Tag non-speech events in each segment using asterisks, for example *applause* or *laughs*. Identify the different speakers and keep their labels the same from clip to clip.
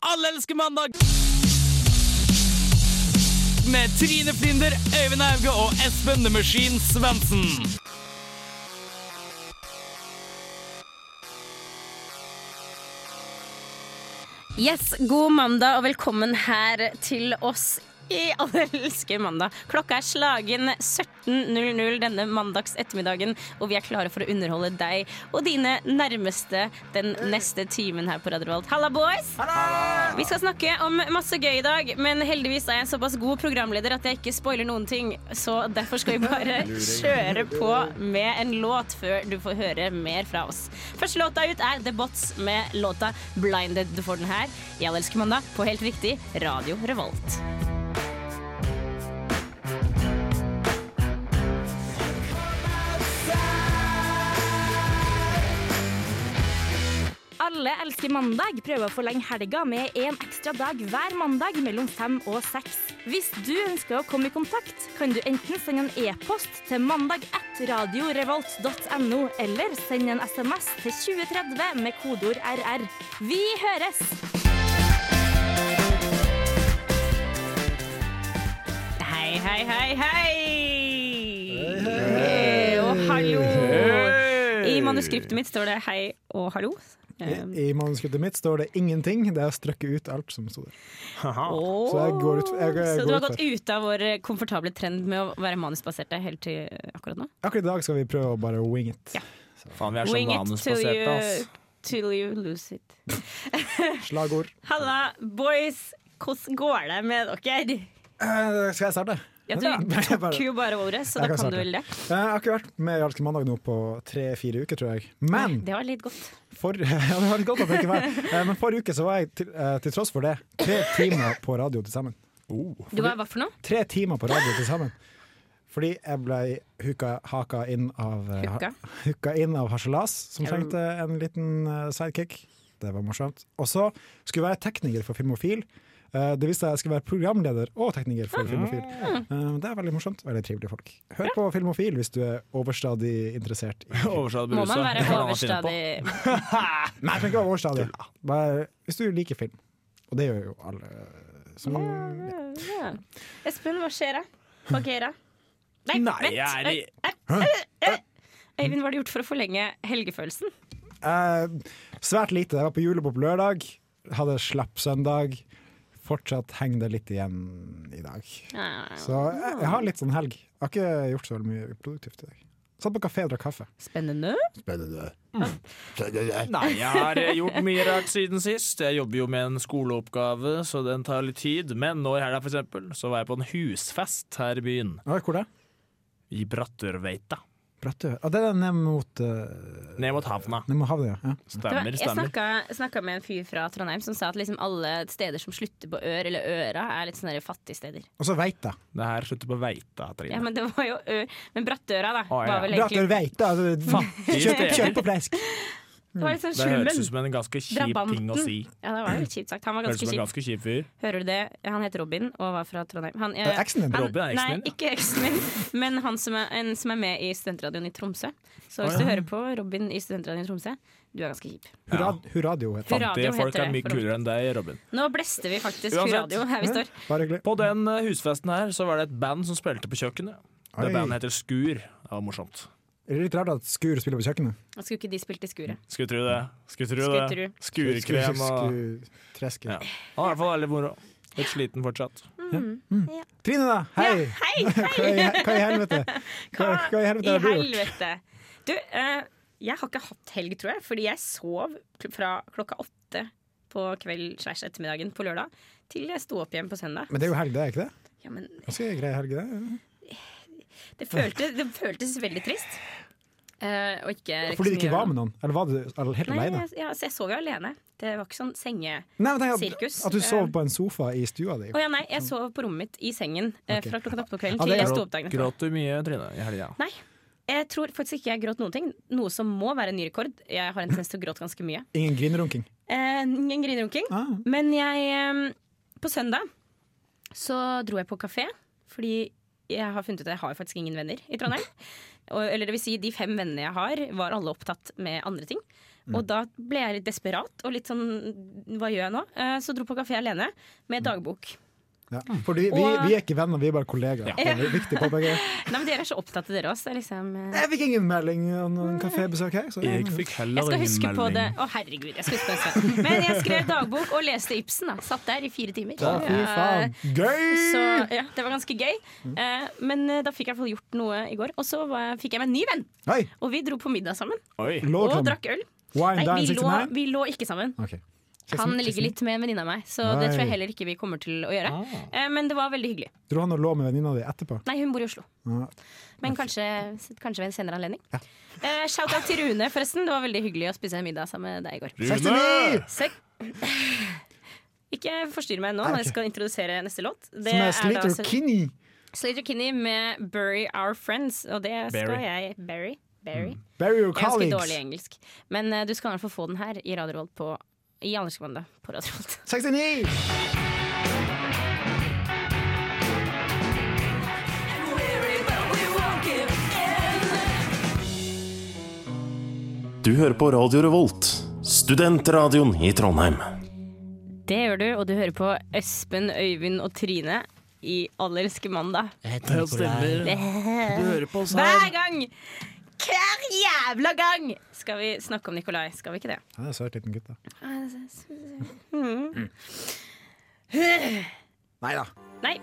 Speaker 1: Alle elsker mandag! Med Trine Flinder, Øyvind Auge og Espen The Machine Svendsen.
Speaker 2: Yes, god mandag og velkommen her til oss i Alle elsker mandag. Klokka er slagen 17.00 denne mandags ettermiddagen, og vi er klare for å underholde deg og dine nærmeste den neste timen her på Radio Revolt. Halla, boys! Vi skal snakke om masse gøy i dag, men heldigvis er jeg en såpass god programleder at jeg ikke spoiler noen ting, så derfor skal vi bare kjøre på med en låt før du får høre mer fra oss. Første låta ut er The Bots med låta 'Blinded'. Du får den her i Alle elsker mandag på helt riktig Radio Revolt.
Speaker 3: Alle elsker mandag prøver å forlenge helga med en ekstra dag hver mandag mellom fem og seks. Hvis du ønsker å komme i kontakt, kan du enten sende en e-post til mandag1radiorevolt.no, eller sende en SMS til 2030 med kodeord RR. Vi høres!
Speaker 2: Hei, hei, hei, hei! Hei, Og hallo! I manuskriptet mitt står det 'hei og hallo'. Um,
Speaker 4: I manuskriptet mitt står det ingenting. Det er strøkket ut alt som sto der.
Speaker 2: Så,
Speaker 4: jeg går ut- jeg- jeg
Speaker 2: så
Speaker 4: går
Speaker 2: du har
Speaker 4: ut
Speaker 2: gått ut av vår eh, komfortable trend med å være manusbaserte helt til akkurat nå?
Speaker 4: Akkurat i dag skal vi prøve å bare wing it.
Speaker 1: Faen, vi er så
Speaker 2: Wing it till
Speaker 1: manusbaserte, ass.
Speaker 2: you, till you lose it.
Speaker 4: Slagord.
Speaker 2: Halla, boys! Hvordan går det med dere?
Speaker 4: Eh, skal jeg starte?
Speaker 2: Ja, du
Speaker 4: Jeg *laughs* bare-
Speaker 2: tok jo bare ordet, så da
Speaker 4: Jeg kan
Speaker 2: kan
Speaker 4: starte.
Speaker 2: du vel det.
Speaker 4: Eh, Jeg har ikke vært med i Alske mandag nå på tre-fire uker, tror jeg. Men
Speaker 2: Det var litt godt.
Speaker 4: for, *laughs* ja, det var litt godt at jeg ikke var her. Eh, Men forrige uke så var jeg, til, eh, til tross for det, tre timer på radio til sammen.
Speaker 2: Du var hva for noe?
Speaker 4: Tre timer på radio til sammen. Fordi jeg ble huka, haka inn av eh, ha-
Speaker 2: Hooka.
Speaker 4: hooka inn av Harselas, som
Speaker 2: Ja.
Speaker 4: trengte en liten eh, sidekick. Det var morsomt. Og så skulle jeg være tekniker for Filmofil. Eh, det viste seg at jeg skulle være programleder og tekniker
Speaker 2: Ah.
Speaker 4: for Filmofil. Eh, det er veldig morsomt. Veldig trivelige folk. Hør på Filmofil hvis du er overstadig interessert.
Speaker 2: *laughs*
Speaker 4: I.
Speaker 1: Overstadig
Speaker 2: Må man
Speaker 1: beruset.
Speaker 2: være
Speaker 1: Det *laughs* kan han ha funnet på.
Speaker 2: overstadig
Speaker 4: Nei, jeg trenger ikke være overstadig. Bare hvis du liker film. Og det gjør jo alle. eh, Som,
Speaker 2: *laughs* ja. Espen, hva skjer da? Hva skjer da? Nei,
Speaker 1: Nei,
Speaker 2: vent.
Speaker 1: jeg er i-
Speaker 2: Øyvind, hva har du gjort for å forlenge helgefølelsen?
Speaker 4: Eh, svært lite. Jeg var på julebord på lørdag. Hadde slapp søndag. Fortsatt henger det litt igjen i dag. Så jeg, jeg har litt sånn helg. Jeg har ikke gjort så veldig mye produktivt i dag. Satt på kafé og drakk kaffe.
Speaker 2: Spennende.
Speaker 1: Nei, jeg har eh, gjort mye rart siden sist. Jeg jobber jo med en skoleoppgave, så den tar litt tid. Men nå i helga, for eksempel, så var jeg på en husfest her i byen.
Speaker 4: Oi, hvor det?
Speaker 1: I Brattørveita.
Speaker 4: Brattø. Ah, det er ned mot, uh,
Speaker 1: Ned mot havna.
Speaker 4: ned mot havna, ja. ja.
Speaker 2: Det var,
Speaker 1: Stemmer,
Speaker 2: jeg
Speaker 1: stemmer.
Speaker 2: snakka, snakka med en fyr fra Trondheim som sa at liksom alle steder som slutter på ør eller øra, er litt sånne der fattige steder.
Speaker 4: Og så Veita.
Speaker 1: Det her slutter på Veita,
Speaker 2: Ja,
Speaker 1: Trine.
Speaker 2: Men det var jo ør Men Brattøra, da.
Speaker 1: Å, Ah, ja.
Speaker 2: Var vel
Speaker 4: Brattø
Speaker 2: egentlig,
Speaker 4: Veita. *laughs* Altså, kjøp,
Speaker 1: steder.
Speaker 4: kjøp på flesk.
Speaker 2: det var litt sånn
Speaker 1: Det høres
Speaker 2: slummen.
Speaker 1: ut som en ganske kjip
Speaker 2: Drabanten.
Speaker 1: ting å si.
Speaker 2: Ja, det var litt kjipt sagt. Han var
Speaker 1: Høres ut som
Speaker 2: ganske
Speaker 1: en
Speaker 2: kjip.
Speaker 1: ganske kjip fyr.
Speaker 2: Hører du det? Han heter Robin og var fra Trondheim. Han, eh,
Speaker 4: Eh, Eksen din.
Speaker 2: han-
Speaker 1: Robin er eksen
Speaker 2: Nei,
Speaker 1: din, ja.
Speaker 2: ikke eksen min, men han som er, en som er med i Studentradioen i Tromsø. Så hvis du hører på Robin i Studentradioen i Tromså, du er ganske kjip.
Speaker 4: Hurra- Hurradio heter
Speaker 2: Hurra-
Speaker 4: han.
Speaker 1: Det
Speaker 2: Radio
Speaker 1: folk
Speaker 2: heter
Speaker 1: er
Speaker 2: det,
Speaker 1: mye
Speaker 2: for
Speaker 1: kulere enn deg, Robin.
Speaker 2: Nå blester vi faktisk
Speaker 1: Uansett.
Speaker 2: Hurradio her vi står.
Speaker 4: Bare hyggelig.
Speaker 1: På den eh, husfesten her så var det et band som spilte på kjøkkenet. Det
Speaker 4: Oi.
Speaker 1: bandet heter Skur. Det var morsomt.
Speaker 4: Er det litt rart at Skur spiller på kjøkkenet?
Speaker 2: Skulle ikke de spilt i skuret?
Speaker 1: Skulle tro det. Skulle tro
Speaker 2: Skulle
Speaker 1: det.
Speaker 2: tro.
Speaker 1: Skurkrem og
Speaker 4: Treske.
Speaker 1: Ja. Han er i hvert fall veldig moro. Litt sliten fortsatt.
Speaker 4: Trine, da! Hei!
Speaker 2: Hei!
Speaker 4: *laughs* Hva i, hva i helvete?
Speaker 2: *laughs*
Speaker 4: Hva, hva
Speaker 2: Ah, I
Speaker 4: i helvete har du gjort?
Speaker 2: helvete! Du, eh, jeg har ikke hatt helg, tror jeg, fordi jeg sov kl- fra klokka åtte på kveld slash ettermiddagen på lørdag til jeg sto opp igjen på søndag.
Speaker 4: Men det er jo helg, det, er ikke det?
Speaker 2: Ja, men
Speaker 4: Ganske grei helg, det.
Speaker 2: det, følte, det føltes veldig trist. Eh, og ikke
Speaker 4: Fordi du ikke var med noen? Eller var du all- helt
Speaker 2: Nei,
Speaker 4: aleine?
Speaker 2: jeg, ja, så jeg sov jo alene. Det var ikke sånn senge...
Speaker 4: Nei, men tenk at-
Speaker 2: Sirkus.
Speaker 4: At du sov på en sofa i stua di.
Speaker 2: Å ja, nei, jeg sov på rommet mitt i sengen eh,
Speaker 4: Ok.
Speaker 2: fra klokka åtte på kvelden
Speaker 4: Ja,
Speaker 2: til
Speaker 4: det
Speaker 2: jeg
Speaker 4: er
Speaker 2: sto opp dagen etter.
Speaker 1: Gråt du mye, Trine, i helga?
Speaker 2: Nei. Jeg tror faktisk ikke jeg gråt noen ting, noe som må være en ny rekord. Jeg har en tendens til å gråte ganske mye.
Speaker 4: Ingen grinrunking.
Speaker 2: Eh, ingen grinrunking.
Speaker 4: Ah.
Speaker 2: Men jeg eh, På søndag så dro jeg på kafé fordi jeg har funnet ut at jeg har faktisk ingen venner i
Speaker 4: *laughs*
Speaker 2: Trondheim. Og, eller det vil si, de fem vennene jeg har, var alle opptatt med andre ting.
Speaker 4: Mm.
Speaker 2: Og da ble jeg litt desperat og litt sånn Hva gjør jeg nå? Eh, Så dro på kafé alene med dagbok.
Speaker 4: Ja. Fordi vi,
Speaker 2: Mm. Og-
Speaker 4: vi er ikke venner, vi er bare kollegaer. Det er viktig på begge.
Speaker 2: Nei, men Dere er så opptatt av dere også. Liksom, eh.
Speaker 4: Jeg fikk ingen melding om en kafébesøk her. Så
Speaker 1: Erik fikk
Speaker 2: Jeg
Speaker 1: heller
Speaker 2: skal
Speaker 1: ingen
Speaker 2: huske på det.
Speaker 1: melding.
Speaker 2: Å, herregud. jeg skal huske på det. selv. Men jeg skrev dagbok og leste Ibsen. da Satt der i fire timer.
Speaker 4: Ja, fy
Speaker 2: Eh,
Speaker 4: faen.
Speaker 2: Så
Speaker 4: Gøy!
Speaker 2: ja, Det var ganske gøy.
Speaker 4: Mm.
Speaker 2: Eh, Men eh, da fikk jeg i hvert fall gjort noe i går. Og så var- fikk jeg meg en ny venn.
Speaker 4: Hei,
Speaker 2: Og vi dro på middag sammen.
Speaker 1: Oi.
Speaker 4: lå
Speaker 2: Og
Speaker 4: dere
Speaker 2: drakk øl.
Speaker 4: Wine
Speaker 2: Nei,
Speaker 4: Dine
Speaker 2: vi lå,
Speaker 4: 69?
Speaker 2: vi lå ikke sammen.
Speaker 4: Ok.
Speaker 2: Han
Speaker 4: Kissen-
Speaker 2: ligger
Speaker 4: kissen.
Speaker 2: litt med en venninne av meg, så det
Speaker 4: Nei. Ah.
Speaker 2: tror jeg heller ikke vi kommer til å gjøre. Eh, Men det var veldig hyggelig.
Speaker 4: Tror han og lå med venninna di etterpå?
Speaker 2: Nei, hun bor i Oslo.
Speaker 4: Ja.
Speaker 2: Men kanskje, kanskje ved en senere anledning. Eh, Shout-out til Rune, forresten. Det var veldig hyggelig å spise middag sammen med deg i går.
Speaker 4: 69!
Speaker 2: Sekk. Ikke forstyrr meg nå
Speaker 4: Nei,
Speaker 2: når
Speaker 4: ok.
Speaker 2: jeg skal introdusere neste låt. Det
Speaker 4: Som er
Speaker 2: da
Speaker 4: Slater
Speaker 2: altså
Speaker 4: Kinney.
Speaker 2: Slater Kinney med 'Bury Our Friends', og det skal
Speaker 1: Bury. Mm.
Speaker 2: jeg Bury. Bury.
Speaker 4: Bury your
Speaker 2: Jeg er ganske dårlig i
Speaker 4: colleagues.
Speaker 2: engelsk. Men eh, du skal i hvert fall få den her i Radio Revolt på i Anders Kommando på Radio Revolt.
Speaker 4: 69!
Speaker 5: Du hører på Radio Revolt, studentradioen i Trondheim.
Speaker 2: Det gjør du, og du hører på Espen, Øyvind og Trine i Allerske mandag.
Speaker 1: Det stemmer. Du hører på oss
Speaker 2: Hver
Speaker 1: her.
Speaker 2: gang! Hver jævla gang! Skal vi snakke om Nikolai? Skal vi ikke det?
Speaker 4: Han er en søt liten gutt, da. Nei da.
Speaker 2: Nei.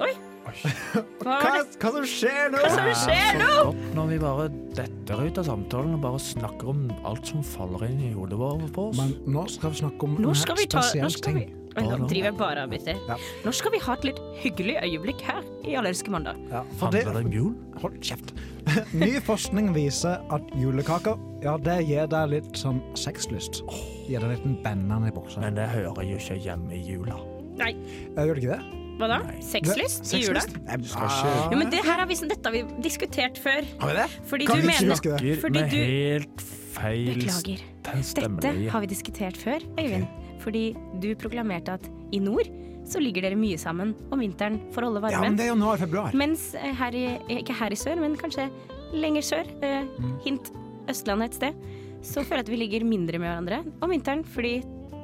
Speaker 2: Oi. Hva
Speaker 4: Hva,
Speaker 2: var det?
Speaker 4: hva som skjer nå?
Speaker 2: Hva som skjer nå?
Speaker 1: Når vi bare detter ut av samtalen og bare snakker om alt som faller inn i hodet vårt på oss.
Speaker 4: Men nå skal vi snakke om
Speaker 2: Nå
Speaker 4: en
Speaker 2: skal vi ta
Speaker 4: spesiell
Speaker 2: nå skal vi,
Speaker 4: ting.
Speaker 2: Oi, Nå driver jeg bare og avbryter.
Speaker 4: Ja.
Speaker 2: Nå skal vi ha et litt hyggelig øyeblikk her i Allelske mandag.
Speaker 4: Ja, for det,
Speaker 1: Handler det om jul?
Speaker 4: Hold kjeft. *laughs* Ny forskning viser at julekaker ja, det gir deg litt sånn sexlyst. Gir deg litt en bennende i buksa.
Speaker 1: Men det hører jo ikke hjemme i jula.
Speaker 2: Nei,
Speaker 4: Eh, Gjør det ikke det?
Speaker 2: hva da? Sexlyst i jula?
Speaker 4: Jeg skal ikke
Speaker 2: Ja, men det her har vi, sånn- dette har vi diskutert før.
Speaker 4: Har vi det?
Speaker 2: Fordi
Speaker 4: Kan
Speaker 2: du
Speaker 4: vi ikke
Speaker 2: mener
Speaker 4: huske det?
Speaker 1: Gir
Speaker 2: Fordi
Speaker 1: med
Speaker 2: du-
Speaker 1: helt feil
Speaker 2: Beklager.
Speaker 1: st-
Speaker 2: Dette
Speaker 1: stemmelige.
Speaker 2: har vi diskutert før, Øyvind. Fordi du proklamerte at i nord så ligger dere mye sammen om vinteren for å holde
Speaker 4: Ja, men
Speaker 2: varmen.
Speaker 4: det er januar-februar.
Speaker 2: Mens eh, her i, eh, ikke her i sør, men kanskje lenger sør, eh,
Speaker 4: Mm.
Speaker 2: hint Østlandet et sted, så føler jeg at vi ligger mindre med hverandre om vinteren fordi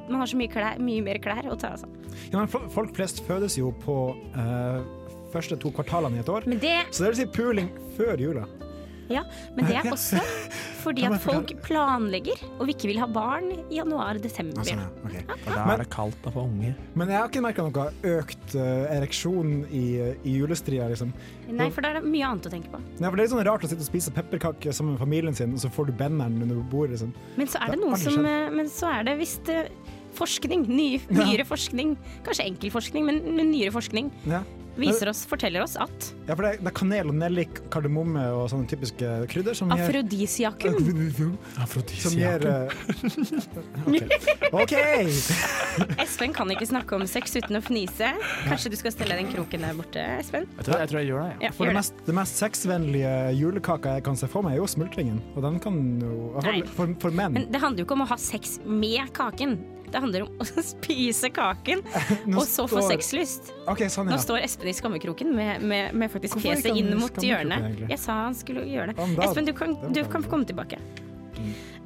Speaker 2: man har så mye, klær, mye mer klær å ta av seg.
Speaker 4: Ja, men fol- folk flest fødes jo på eh, første to kvartalene i et år.
Speaker 2: Men det,
Speaker 4: Så det vil si puling før jula.
Speaker 2: ja, men det er
Speaker 4: *laughs*
Speaker 2: også fordi
Speaker 4: Kan
Speaker 2: at
Speaker 4: jeg
Speaker 2: folk
Speaker 4: forklare?
Speaker 2: planlegger og ikke vil ha barn i januar-desember.
Speaker 4: Altså, ja, ok.
Speaker 1: Og da
Speaker 4: Men-
Speaker 1: er det kaldt der for unge.
Speaker 4: Men jeg har ikke merka noe økt eh, ereksjon i, i julestria, liksom.
Speaker 2: Nei, for da er det mye annet å tenke på.
Speaker 4: Ja, for det er litt sånn rart å sitte og spise pepperkaker sammen med familien sin, og så får du benneren under bordet, liksom.
Speaker 2: Men så er det
Speaker 4: Det har
Speaker 2: noen
Speaker 4: aldri
Speaker 2: som eh,
Speaker 4: skjedd.
Speaker 2: Men så er det visst eh, forskning. Ny, nyere forskning. Kanskje enkel forskning, men, men nyere forskning
Speaker 4: Ja.
Speaker 2: viser oss, forteller oss at
Speaker 4: Ja, for det er, det er kanel og nellik, kardemomme og sånne typiske krydder som gir
Speaker 2: afrodisiakum
Speaker 4: Som gir *laughs* eh, OK! Ok.
Speaker 2: Espen kan ikke snakke om sex uten å fnise. Kanskje du skal stelle den kroken der borte, Espen?
Speaker 1: Jeg tror jeg, tror jeg gjør det. Ja.
Speaker 2: Ja,
Speaker 4: For det
Speaker 2: gjør det.
Speaker 4: mest, det mest sexvennlige julekaka jeg kan se for meg, er jo smultringen. Og den kan jo i hvert fall
Speaker 2: Nei.
Speaker 4: For, for menn.
Speaker 2: Men det handler jo ikke om å ha sex med kaken. Det handler om å *laughs* spise kaken,
Speaker 4: Nå
Speaker 2: og så få
Speaker 4: står-
Speaker 2: sexlyst.
Speaker 4: OK, sånn,
Speaker 2: Nå
Speaker 4: ja.
Speaker 2: står Espen i skammekroken med, med, med faktisk
Speaker 4: Hvorfor
Speaker 2: fjeset
Speaker 4: ikke han
Speaker 2: inn
Speaker 4: i
Speaker 2: mot
Speaker 4: skammekroken,
Speaker 2: hjørnet.
Speaker 4: egentlig?
Speaker 2: Jeg sa han skulle gjøre
Speaker 4: Ja, men
Speaker 2: det.
Speaker 4: da-
Speaker 2: Espen, du kan,
Speaker 4: det
Speaker 2: du
Speaker 4: var
Speaker 2: kan
Speaker 4: veldig
Speaker 2: få komme tilbake.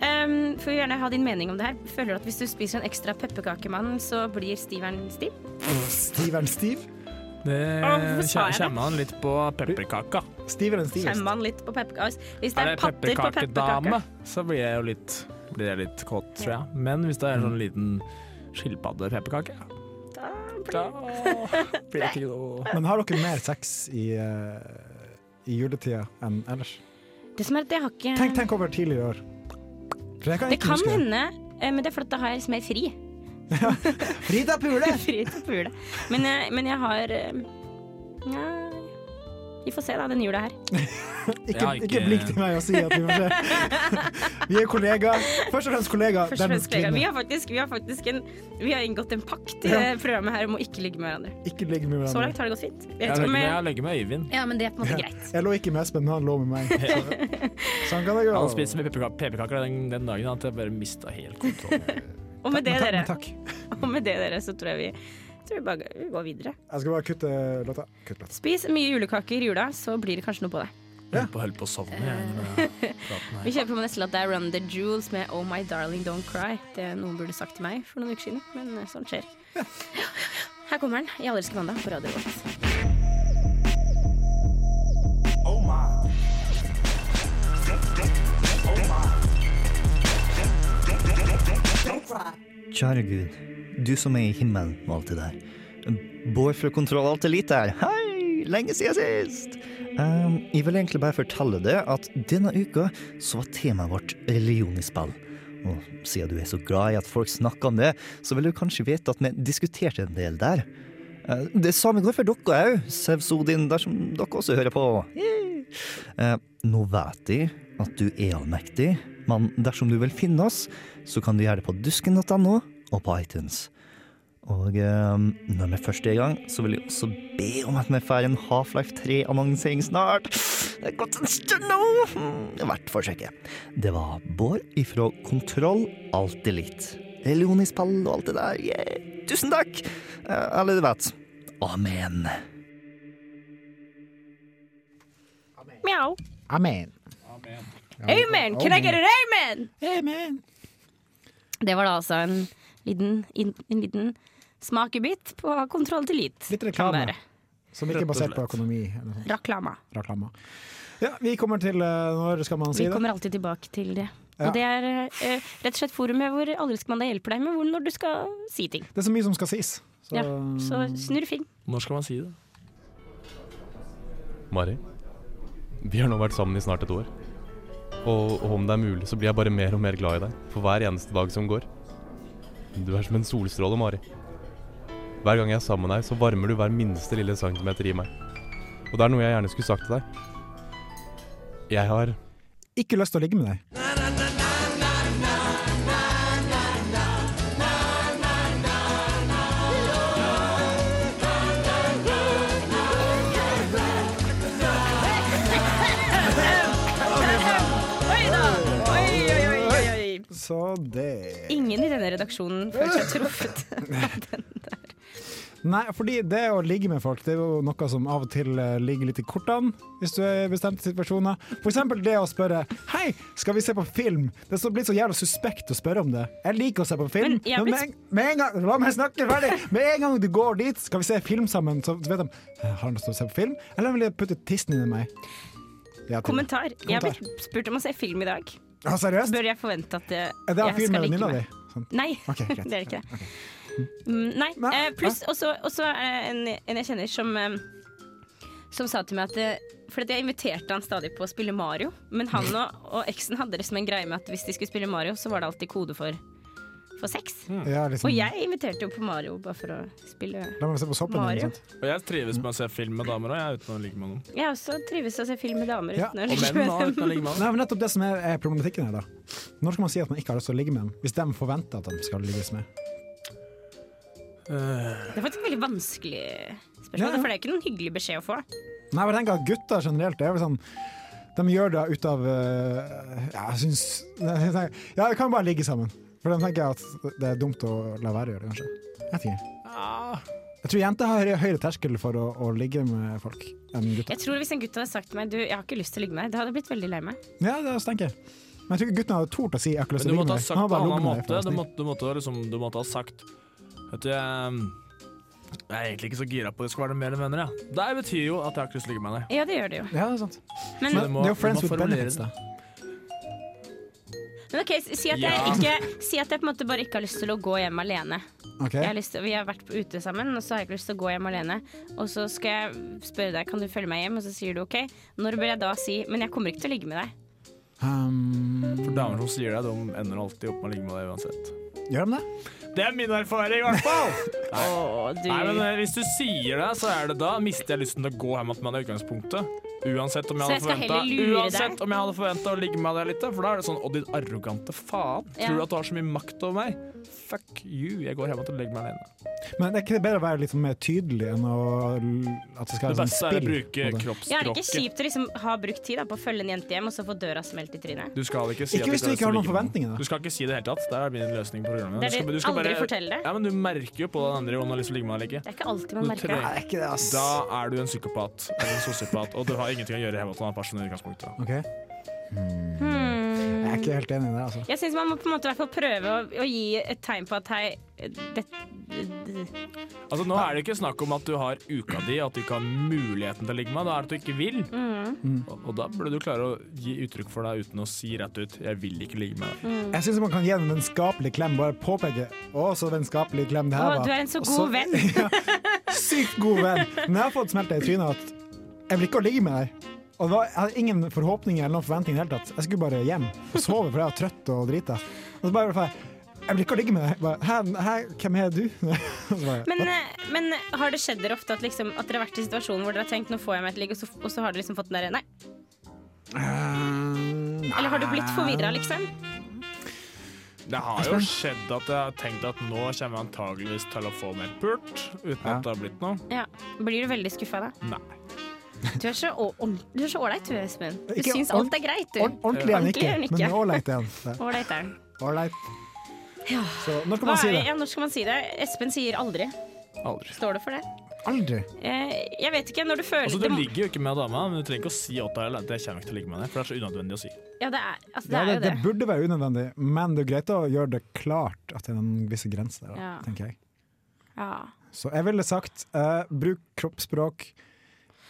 Speaker 2: Um, får gjerne ha din mening om det her. Føler du at hvis du spiser en ekstra pepperkakemann, så blir stiveren stiv?
Speaker 4: Stiv er en stiv.
Speaker 1: Det
Speaker 2: Å, hvorfor sa jeg det?
Speaker 1: kommer an litt på pepperkaka.
Speaker 4: Stiv er en stiv.
Speaker 2: Kjemmer han litt på pepperkaker? Hvis det
Speaker 1: Er
Speaker 2: er,
Speaker 1: det
Speaker 2: patter på
Speaker 1: pepperkakedame,
Speaker 2: pepperkaker
Speaker 1: så blir jeg jo litt, blir jeg litt kåt, tror jeg. Men hvis det er en sånn liten skilpaddepepperkake, da blir det ikke noe
Speaker 4: Men har dere mer sex i, eh, i juletida enn ellers?
Speaker 2: Det som er at jeg har ikke
Speaker 4: Tenk, tenk over tidligere år. For jeg kan
Speaker 2: Det
Speaker 4: ikke
Speaker 2: kan
Speaker 4: huske det.
Speaker 2: hende, eh, men det er fordi da har jeg liksom mer fri. *laughs*
Speaker 4: Frida Pule!
Speaker 2: Fri til å pule. Men, eh, men jeg har eh, Nja Vi får se, da, den jula her.
Speaker 4: Ikke,
Speaker 1: Ja, ikke-
Speaker 4: ikke blink til meg og si at vi
Speaker 1: *laughs*
Speaker 4: må se. Vi er kollegaer. Først og fremst kollegaer.
Speaker 2: Først og
Speaker 4: Dennis
Speaker 2: fremst kollega. Vi
Speaker 4: Kline.
Speaker 2: har faktisk, vi har faktisk en, vi har inngått en pakt i det programmet her om å ikke ligge med hverandre.
Speaker 4: Ikke ligg med
Speaker 2: Så langt
Speaker 4: hverandre.
Speaker 2: har det gått fint. Jeg
Speaker 1: Jeg
Speaker 2: vet ikke
Speaker 1: legger
Speaker 2: om
Speaker 1: med,
Speaker 2: jeg,
Speaker 1: jeg legger med Øyvind.
Speaker 2: ja, men det er på en måte greit.
Speaker 4: Jeg lå ikke med Espen, men han lå med
Speaker 1: *laughs*
Speaker 4: meg. Så- Sånn kan det gå.
Speaker 1: Han spiste med pepperka- pepperkaker den, den dagen at jeg bare mista helt kontrollen.
Speaker 2: Og med det,
Speaker 4: Men takk-
Speaker 2: dere,
Speaker 4: men takk.
Speaker 2: og med det dere så tror jeg vi tror vi bare vi går videre.
Speaker 4: Jeg skal bare kutte eh, låta. Kutt låta.
Speaker 2: Spis mye julekaker i jula, så blir det kanskje noe på det.
Speaker 1: Jeg holdt på- holdt på å sovne. Jeg, under
Speaker 2: *laughs*
Speaker 1: denne praten her.
Speaker 2: Vi kjører på med neste låt. Det er Run The Jewels med Oh My Darling Don't Cry. Det noen burde sagt til meg for noen uker siden, men eh, sånt *laughs* skjer. Her kommer den i Allerske mandag på Radio Revolt.
Speaker 6: Kjære Gud, du som er i himmelen og alt det der. Bård fra Kontroll Alt Elite her. Hei! Lenge siden sist! Ehm, jeg vil egentlig bare fortelle deg at denne uka så var temaet vårt religion i spill. Og siden du er så glad i at folk snakker om det, så vil du kanskje vite at vi diskuterte en del der. Eh, Det samme går for dere òg, Sevsodin, dersom dere også hører på. Yay! Eh, Nå vet jeg at du er allmektig, men dersom du vil finne oss, så kan du gjøre det på dusken.no og på iTunes. Og eh, når vi først er i gang, så vil jeg også be om at vi får en Half-Life 3-annonsering snart. Det er gått en stund nå! Mm, Verdt forsøket. Det var Bård ifra Kontroll Alltid Litt. Religion i spill og alt det der. Yeah. Tusen takk! Eh, Eller du vet. Amen.
Speaker 2: Mjau.
Speaker 4: Amen.
Speaker 2: Amen! Can I get an amen?
Speaker 4: Amen.
Speaker 2: Det var da altså en liten, in- en liten smakebit på kontroll til lit.
Speaker 4: Litt
Speaker 2: kan
Speaker 4: reklame.
Speaker 2: være.
Speaker 4: Som ikke
Speaker 1: Rett
Speaker 4: er
Speaker 1: og
Speaker 4: basert på
Speaker 1: slett.
Speaker 4: økonomi eller sånn
Speaker 2: Reklame.
Speaker 4: reklame. Ja, vi kommer til eh, Når skal man si
Speaker 2: Vi
Speaker 4: det?
Speaker 2: kommer alltid tilbake til det.
Speaker 4: Ja.
Speaker 2: Og det er eh, rett og slett forumet hvor Allerske mandag hjelper deg med hvor, når du skal si ting.
Speaker 4: Det er så mye som skal sies. Så,
Speaker 2: Ja, så snurr film.
Speaker 1: Når skal man si det?
Speaker 7: Mari, vi har nå vært sammen i snart et år. Og, og om det er mulig, så blir jeg bare mer og mer glad i deg for hver eneste dag som går. Du er som en solstråle, Mari. Hver gang jeg er sammen med deg, så varmer du hver minste lille centimeter i meg. Og det er noe jeg gjerne skulle sagt til deg. Jeg har
Speaker 4: Ikke lyst til å ligge med deg.
Speaker 2: Oi da! Oi, oi, oi, oi, oi.
Speaker 4: Så det
Speaker 2: Ingen i denne redaksjonen føler seg truffet.
Speaker 4: *laughs* Nei, fordi det å ligge med folk Det er jo noe som av og til eh, ligger litt i kortene, hvis du er i bestemte situasjoner. For eksempel det å spørre 'Hei, skal vi se på film?' Det er så blitt så jævla suspekt å spørre om det. Jeg liker å se på film,
Speaker 2: Men jeg
Speaker 4: men,
Speaker 2: blir-
Speaker 4: med, en, med en gang La meg snakke ferdig! Med en gang du går dit, skal vi se film sammen, så vet de «Eh, 'Har han lyst til å se på film?' Eller vil jeg putte tissen inn i meg? Ja, til-
Speaker 2: Kommentar. Jeg har blitt spurt om å se film i dag.
Speaker 4: Ja, seriøst?
Speaker 2: Bør jeg forvente at eh,
Speaker 4: Er det av
Speaker 2: jeg skal
Speaker 4: filmen
Speaker 2: ligge
Speaker 4: Nilla di?
Speaker 2: med
Speaker 4: Sånn.
Speaker 2: Nei,
Speaker 4: Ok, greit.
Speaker 2: *laughs* det er ikke det. Mm, Nei,
Speaker 4: Nei,
Speaker 2: eh, pluss også, også eh, en, en jeg kjenner som eh, Som sa til meg at eh, For at jeg inviterte han stadig på å spille Mario Men han
Speaker 4: Mm.
Speaker 2: og, og eksen hadde det som en greie med at Hvis de skulle spille Mario, så var det alltid kode for For sex
Speaker 4: Ja, liksom,
Speaker 2: Og jeg inviterte jo på Mario bare for å spille
Speaker 4: La meg se på soppen
Speaker 2: Mario.
Speaker 4: din. Sånn.
Speaker 1: Og jeg trives med å se film med damer òg, uten å ligge med noen.
Speaker 2: Jeg også trives til å se film med damer
Speaker 4: Ja,
Speaker 2: uten å
Speaker 1: Og
Speaker 2: ligge
Speaker 1: menn
Speaker 2: med
Speaker 1: òg,
Speaker 2: dem.
Speaker 1: uten å ligge med noen.
Speaker 4: Nei, men nettopp det som er, er problematikken her, da. Når skal man si at man ikke har lyst til å ligge med dem, hvis de forventer at de skal ligges med?
Speaker 2: Det er faktisk et veldig vanskelig spørsmål
Speaker 4: Ja, ja.
Speaker 2: For det er ikke noen hyggelig beskjed å få
Speaker 4: Nei, men jeg tenker at gutter generelt det er vel sånn De gjør det ut av eh, Ja, jeg syns *laughs* jeg tenker, Ja, vi kan bare ligge sammen. For de tenker at det er dumt å la være å gjøre det, kanskje. Jeg vet ikke. Jeg tror jenter har høyere- høyere terskel for å, å ligge med folk enn gutter.
Speaker 2: Jeg tror hvis en gutt hadde sagt til meg Du, jeg har ikke lyst til å ligge med deg Det hadde jeg blitt veldig lei meg
Speaker 4: Ja, det er- tenker jeg. Men jeg tror ikke guttene hadde tort å si 'jeg har ikke lyst
Speaker 1: Men du
Speaker 4: til å ligge
Speaker 1: måtte ha sagt
Speaker 4: med deg'.
Speaker 1: det
Speaker 4: Han har
Speaker 1: på en
Speaker 4: bare ligget
Speaker 1: annen
Speaker 4: med
Speaker 1: måte.
Speaker 4: deg. for å
Speaker 1: Du
Speaker 4: være snill.
Speaker 1: måtte, du måtte, liksom, du måtte ha sagt Vet du, jeg, jeg er egentlig ikke så gira på at det skal være mer enn venner. Ja. Det betyr jo at jeg har ikke lyst til å ligge med deg.
Speaker 2: Ja, det gjør det jo
Speaker 4: Ja, det er sant.
Speaker 2: Men,
Speaker 4: Men
Speaker 1: du må-
Speaker 4: det er jo
Speaker 1: du
Speaker 4: friends
Speaker 1: må
Speaker 4: with
Speaker 1: formulere
Speaker 4: benefits, da.
Speaker 1: det.
Speaker 2: men ok, si at, jeg
Speaker 1: Ja.
Speaker 2: ikke, si at jeg på en måte bare ikke har lyst til å gå hjem alene.
Speaker 4: Ok.
Speaker 2: Jeg har lyst til, vi har vært på ute sammen, og så har jeg ikke lyst til å gå hjem alene. Og så skal jeg spørre deg kan du følge meg hjem, og så sier du OK. Når bør jeg da si men jeg kommer ikke til å ligge med deg?
Speaker 4: Um,
Speaker 1: For damer som sier det, de ender alltid opp med å ligge med deg uansett.
Speaker 4: gjør de det?
Speaker 1: Det er min erfaring, i hvert fall!
Speaker 2: Å, du.
Speaker 1: eh, Nei, men eh, Hvis du sier det, så er det da mister jeg lysten til å gå hjem med meg i utgangspunktet. Uansett om
Speaker 2: Så
Speaker 1: jeg hadde
Speaker 2: jeg skal
Speaker 1: forventa
Speaker 2: heller lure
Speaker 1: Uansett
Speaker 2: deg.
Speaker 1: om jeg hadde forventet å ligge med deg litt, for da er det sånn Å, din arrogante faen.
Speaker 2: Ja.
Speaker 1: Tror du at du har så mye makt over meg? Fuck you. Jeg går hjem til å legge meg alene.
Speaker 4: Men er ikke det bedre å være litt sånn mer tydelig enn å, at det skal
Speaker 1: Det
Speaker 4: være
Speaker 1: beste er
Speaker 4: sånn
Speaker 1: å
Speaker 4: spill? på
Speaker 1: bruke
Speaker 4: en måte?
Speaker 2: Ja, er det ikke
Speaker 1: kroppsspråket.
Speaker 2: kjipt å liksom ha brukt tid da, på å følge en jente hjem, og så få døra smelt i trynet?
Speaker 1: Du skal ikke si
Speaker 4: Ikke
Speaker 1: at
Speaker 4: hvis du
Speaker 1: har lyst
Speaker 4: ikke
Speaker 1: til å
Speaker 4: har noen
Speaker 1: ligge med
Speaker 4: forventninger,
Speaker 1: noen.
Speaker 4: da.
Speaker 1: Du skal ikke si det i det hele tatt. Det er min løsning på programmet.
Speaker 2: Det er
Speaker 1: Du skal-
Speaker 2: det
Speaker 1: du skal
Speaker 2: aldri
Speaker 1: bare-
Speaker 2: fortell det.
Speaker 1: Ja, men du merker jo på den andre om du har lyst til å ligge med deg eller ikke.
Speaker 2: Det er ikke alltid man
Speaker 1: Du
Speaker 2: merker det.
Speaker 1: trenger-
Speaker 4: Nei, det er ikke det, ass.
Speaker 1: Da er du en psykopat eller en sosiopat, og du har ingenting å gjøre hjemme hos en annen person i sånn utgangspunktet.
Speaker 4: Ok.
Speaker 2: Hmm.
Speaker 4: Jeg er ikke helt enig i det, altså.
Speaker 2: Jeg syns man må på en måte i hvert fall prøve å, å gi et tegn på at hei det, det,
Speaker 1: Altså, nå er det ikke snakk om at du har uka di, at du ikke har muligheten til å ligge med. Da er det at du ikke vil. Og, og da burde du klare å gi uttrykk for det uten å si rett ut 'jeg vil ikke ligge med deg'.
Speaker 4: Jeg syns man kan gi en vennskapelig klem, bare påpeke Å, så vennskapelig klem det
Speaker 2: Å,
Speaker 4: her var.
Speaker 2: du er en så
Speaker 4: Og
Speaker 2: god venn.
Speaker 4: *laughs* ja, sykt god venn. Men jeg har fått smelta i trynet at jeg vil ikke å ligge med deg. Og det var, Jeg hadde ingen forhåpninger eller noen forventninger i det hele tatt. Jeg skulle bare hjem og sove, for jeg var trøtt og drita. Og så bare jeg, jeg vil ikke å ligge med deg. Jeg Bare, hæ, hæ, hvem er du? *laughs* Og så bare,
Speaker 2: Men, eh, men har det skjedd dere ofte at, liksom, at dere har vært i situasjonen hvor dere har tenkt nå får jeg meg et ligg, og, så- og så har dere liksom fått den derre nei? Eller har du blitt forvirra, liksom?
Speaker 1: Det har jo skjedd at jeg har tenkt at nå kommer jeg antageligvis til å få meg pult, uten
Speaker 4: Ja.
Speaker 1: at det har blitt noe.
Speaker 2: Ja. Blir du veldig skuffa da?
Speaker 1: Nei.
Speaker 2: Du er så å- ordent- du er så ålreit, du, Espen. Du
Speaker 4: Ikke
Speaker 2: syns
Speaker 4: ord-
Speaker 2: alt er greit,
Speaker 4: Ord-
Speaker 2: du.
Speaker 4: Ordentlig er han
Speaker 2: Ordentlig
Speaker 4: ikke,
Speaker 2: er han
Speaker 4: men
Speaker 2: ikke.
Speaker 4: ålreit er han.
Speaker 2: Ålreit er den.
Speaker 4: Ålreit. Så når
Speaker 2: Hva
Speaker 4: kan man si
Speaker 2: er,
Speaker 4: det?
Speaker 2: ja, når skal man si det? Espen sier aldri.
Speaker 1: Aldri.
Speaker 2: Står det for det?
Speaker 4: Aldri.
Speaker 2: Eh, jeg vet ikke. Når du føler
Speaker 1: Altså,
Speaker 2: det
Speaker 1: du
Speaker 2: må-
Speaker 1: ligger jo ikke med dama, men du trenger ikke å si åt deg eller at jeg kommer ikke til å ligge med deg, for det er så unødvendig å si.
Speaker 2: Ja, det er, altså, det
Speaker 4: Ja,
Speaker 2: er
Speaker 4: det,
Speaker 2: jo
Speaker 4: det
Speaker 2: det.
Speaker 4: burde være unødvendig, men det er greit å gjøre det klart at det er en viss grense der, da,
Speaker 2: Ja.
Speaker 4: tenker jeg.
Speaker 2: Ja.
Speaker 4: Så jeg ville sagt eh, bruk kroppsspråk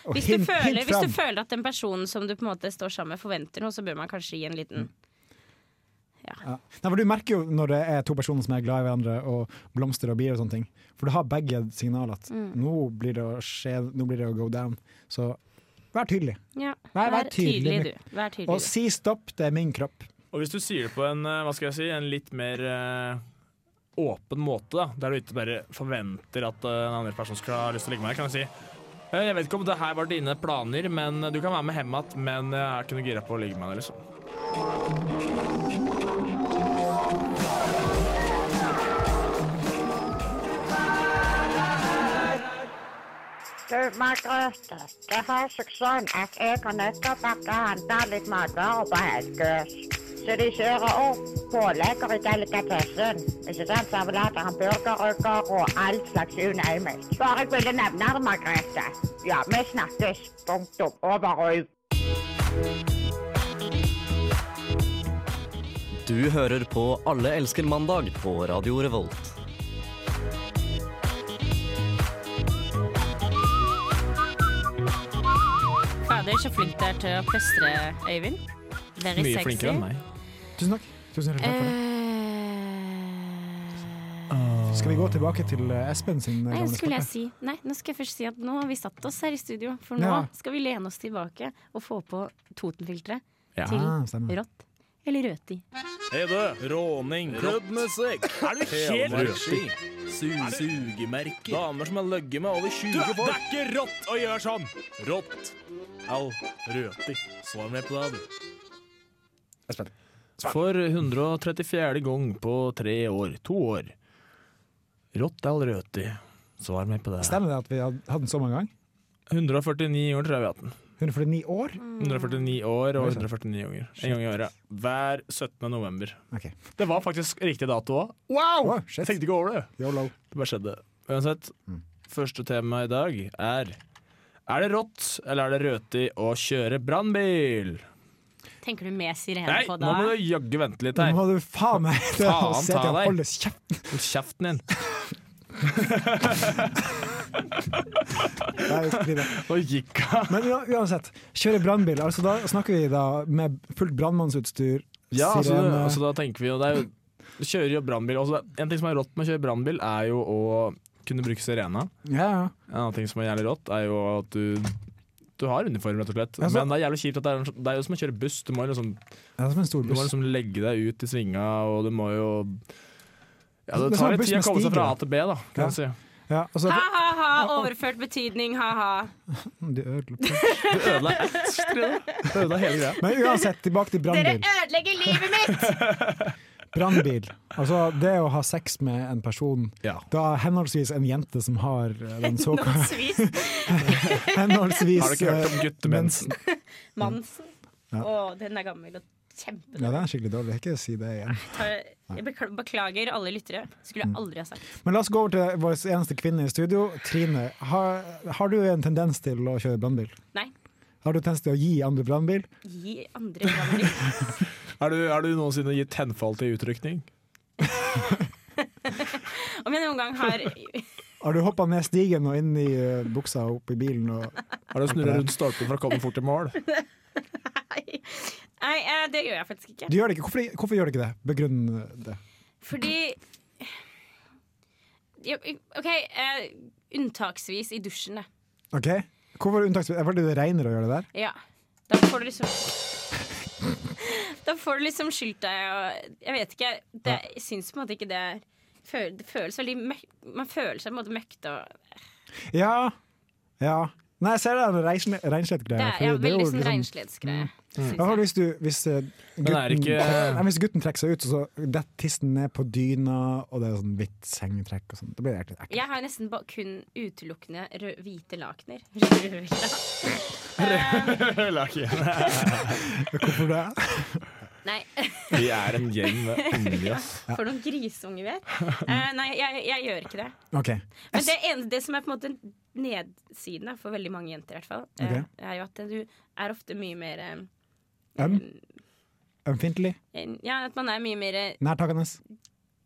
Speaker 4: og
Speaker 2: Hvis, du
Speaker 4: hint,
Speaker 2: føler,
Speaker 4: hint
Speaker 2: hvis
Speaker 4: fram.
Speaker 2: du føler at den personen som du på en måte står sammen med, forventer noe, så bør man kanskje gi en
Speaker 4: Mm.
Speaker 2: liten
Speaker 4: Ja. Nei, for du merker jo når det er to personer som er glad i hverandre og blomster og bier og sånne ting. For du har begge signaler at
Speaker 2: Mm.
Speaker 4: nå blir det å skje, nå blir det å go down. Så vær tydelig.
Speaker 2: Ja,
Speaker 4: Nei, vær tydelig,
Speaker 2: du. Vær tydelig,
Speaker 4: Og
Speaker 2: du.
Speaker 4: si stopp, det er min kropp.
Speaker 1: Og hvis du sier det på en, eh, hva skal jeg si, en litt mer eh, åpen måte, da, der du ikke bare forventer at eh, en andre person skal ha lyst til å ligge med deg, kan du si «Eh, jeg vet ikke om det her var dine planer, men du kan være med hjem igjen. Men eh, jeg er ikke noe gira på å ligge med deg, liksom.
Speaker 8: Du, Margrethe, det har seg sånn at jeg og nøkkelbakka handler litt matvarer på Helgøs. Så de kjører opp pålegger i delikatessen. Ikke sant? Servelater, hamburgerrygger og all slags unøymelt. Bare jeg ville nevne det, Margrethe. Ja, vi snakkes. Punktum. Over og ut.
Speaker 9: Du hører på Alle elsker mandag på Radio Revolt.
Speaker 2: Fader, så flink du er til å pløstre, Øyvind. Very
Speaker 1: Mye
Speaker 2: sexy.
Speaker 1: flinkere enn meg.
Speaker 4: Tusen takk. Tusen hjertelig takk for det.
Speaker 2: Eh,
Speaker 4: Skal vi gå tilbake til eh, Espen sin eh,
Speaker 2: Nei,
Speaker 4: gamle
Speaker 2: skulle jeg
Speaker 4: spalte?
Speaker 2: si Nei, nå skal jeg først si at nå har vi satt oss her i studio, for nå
Speaker 4: Ja.
Speaker 2: skal vi lene oss tilbake og få på Totenfilteret
Speaker 1: Ja.
Speaker 4: Ah,
Speaker 2: til
Speaker 4: stemmer.
Speaker 2: rått eller røti.
Speaker 1: Hede, råning,
Speaker 10: Rødmesekk,
Speaker 1: Er du helt
Speaker 10: helmarksski, sugemerker
Speaker 1: Damer som har løgget med over 20
Speaker 10: folk.
Speaker 1: Det er ikke rått å gjøre sånn!
Speaker 10: Rått. Au. Røti. Svar meg på det, du.
Speaker 1: For 134. gang på tre år. To år. Rått eller røti? Svar meg på det.
Speaker 4: Stemmer det at vi had- hadde den så mange ganger?
Speaker 1: 149 år tror jeg vi har hatt den.
Speaker 4: 149 år?
Speaker 2: Mm.
Speaker 1: 149 år og
Speaker 4: Oi, sant.
Speaker 1: 149 unger. En gang i året. Hver 17. november.
Speaker 4: Ok.
Speaker 1: Det var faktisk riktig dato òg.
Speaker 4: Wow!
Speaker 1: Jeg
Speaker 4: shit.
Speaker 1: tenkte ikke over det.
Speaker 4: YOLO.
Speaker 1: Det bare skjedde. Uansett,
Speaker 4: Mm.
Speaker 1: første tema i dag er Er det rått eller er det røti å kjøre brannbil?
Speaker 2: Tenker du med sirene
Speaker 1: Nei,
Speaker 2: på
Speaker 1: nå
Speaker 2: da?
Speaker 1: må du jaggu vente litt
Speaker 4: Nå
Speaker 1: her.
Speaker 4: må du faen meg til å
Speaker 1: Faen
Speaker 4: se
Speaker 1: ta
Speaker 4: til å
Speaker 1: deg.
Speaker 4: holde kjeft.
Speaker 1: Hold kjeften din.
Speaker 4: Nei, jeg skal bli det.
Speaker 1: Nå gikk
Speaker 4: *laughs*
Speaker 1: hun.
Speaker 4: Men ua- uansett, kjøre brannbil. Altså, da snakker vi da med fullt brannmannsutstyr.
Speaker 1: Ja, altså, det,
Speaker 4: sirene.
Speaker 1: altså da tenker vi jo det er jo, Du kjører jo brannbil. Altså, det- en ting som er rått med å kjøre brannbil, er jo å kunne bruke sirena.
Speaker 4: ja, ja.
Speaker 1: En annen ting som er jævlig rått, er jo at du du har uniform, rett og slett.
Speaker 4: Altså-
Speaker 1: Men det er jævlig kjipt at det er, det er jo som å kjøre buss. Du må, jo liksom,
Speaker 4: Det er som en stor
Speaker 1: du må
Speaker 4: buss.
Speaker 1: liksom legge deg ut i svinga, og du må jo ja,
Speaker 4: Det
Speaker 1: Det
Speaker 4: er som
Speaker 1: tar
Speaker 4: en
Speaker 1: litt
Speaker 4: buss
Speaker 1: tid å
Speaker 4: med
Speaker 1: komme seg
Speaker 4: stiger.
Speaker 1: fra A til B, da, kan
Speaker 4: Ja.
Speaker 1: man si.
Speaker 4: Ja, altså, og så-
Speaker 2: Ha-ha-ha, overført betydning, ha-ha.
Speaker 4: De ødela
Speaker 2: Du
Speaker 4: *laughs*
Speaker 9: ødela alt,
Speaker 4: hele greia. Men uansett, tilbake til
Speaker 2: Dere
Speaker 4: brannbil.
Speaker 2: ødelegger livet mitt!
Speaker 4: Brannbil. Altså, det å ha sex med en person, da henholdsvis en jente som har
Speaker 2: *laughs*
Speaker 4: eh, den såkalte
Speaker 2: Henholdsvis
Speaker 4: Henholdsvis
Speaker 1: Har du ikke hørt om
Speaker 4: eh,
Speaker 1: guttemensen?
Speaker 4: mensen.
Speaker 2: Mansen.
Speaker 4: Ja.
Speaker 2: Å, den er gammel og
Speaker 4: Ja,
Speaker 2: kjempedårlig.
Speaker 4: det er skikkelig dårlig. Ikke si det igjen.
Speaker 2: Ta- Jeg bekl- beklager alle lyttere. Skulle jeg aldri ha sagt.
Speaker 4: Men la oss gå over til vår eneste kvinne i studio, Trine. Har, har du en tendens til å kjøre brannbil?
Speaker 2: Nei.
Speaker 4: Har du tendens til å gi andre brannbil?
Speaker 2: Gi andre brannbil.
Speaker 1: Er du, er du noensinne gitt henfall til utrykning?
Speaker 2: Om jeg noen gang har
Speaker 4: Har du hoppa ned stigen og inn i eh, buksa og opp i bilen? Og
Speaker 1: Har du snurra rundt stolpen for å komme fort i *laughs* mål?
Speaker 2: Nei, eh, det gjør jeg faktisk ikke.
Speaker 4: Du gjør det ikke. Hvorfor, hvorfor gjør du ikke det? Begrunn det.
Speaker 2: Fordi Ja, OK, eh, unntaksvis i dusjen, da.
Speaker 4: Ok? Hvorfor unntaksvis? Er det fordi det regner å gjøre det der?
Speaker 2: Ja. Da får du liksom Da får du liksom skyldt deg og Jeg vet ikke. Det, jeg syns på en måte ikke det er føl- Det føles veldig møk, Man føler seg på en måte møkte og
Speaker 4: Ja. ja. Nei, jeg ser det er en reinsle-
Speaker 2: Det
Speaker 4: reinslettgreie.
Speaker 2: er,
Speaker 4: fordi
Speaker 2: ja,
Speaker 4: det er jo
Speaker 2: veldig sånn
Speaker 4: liksom-
Speaker 2: reinsletsgreie.
Speaker 4: I hvert fall hvis, du, hvis, eh,
Speaker 1: Men er
Speaker 4: gutten,
Speaker 1: det ikke-
Speaker 4: Nei, hvis gutten trekker seg ut, og så detter tissen ned på dyna, og det er sånn hvitt sengetrekk og sånn. Da blir det ekkelt.
Speaker 2: Jeg har nesten ba- kun utelukkende rød, hvite lakener. *laughs* Røde lakener.
Speaker 4: Hvorfor det?
Speaker 2: Nei. *laughs*
Speaker 1: Vi er en gjeng med unger, ass.
Speaker 2: For noen grisunger vi er. Eh, nei, jeg, jeg gjør ikke det.
Speaker 4: Ok.
Speaker 2: Men det, ene, det som er på en måte nedsiden da, for veldig mange jenter, i hvert fall, eh,
Speaker 4: Ok.
Speaker 2: er jo at du er ofte mye mer eh,
Speaker 4: Øm? Ømfintlig?
Speaker 2: en- Ja, at man er mye mer eh,
Speaker 4: Nærtakende?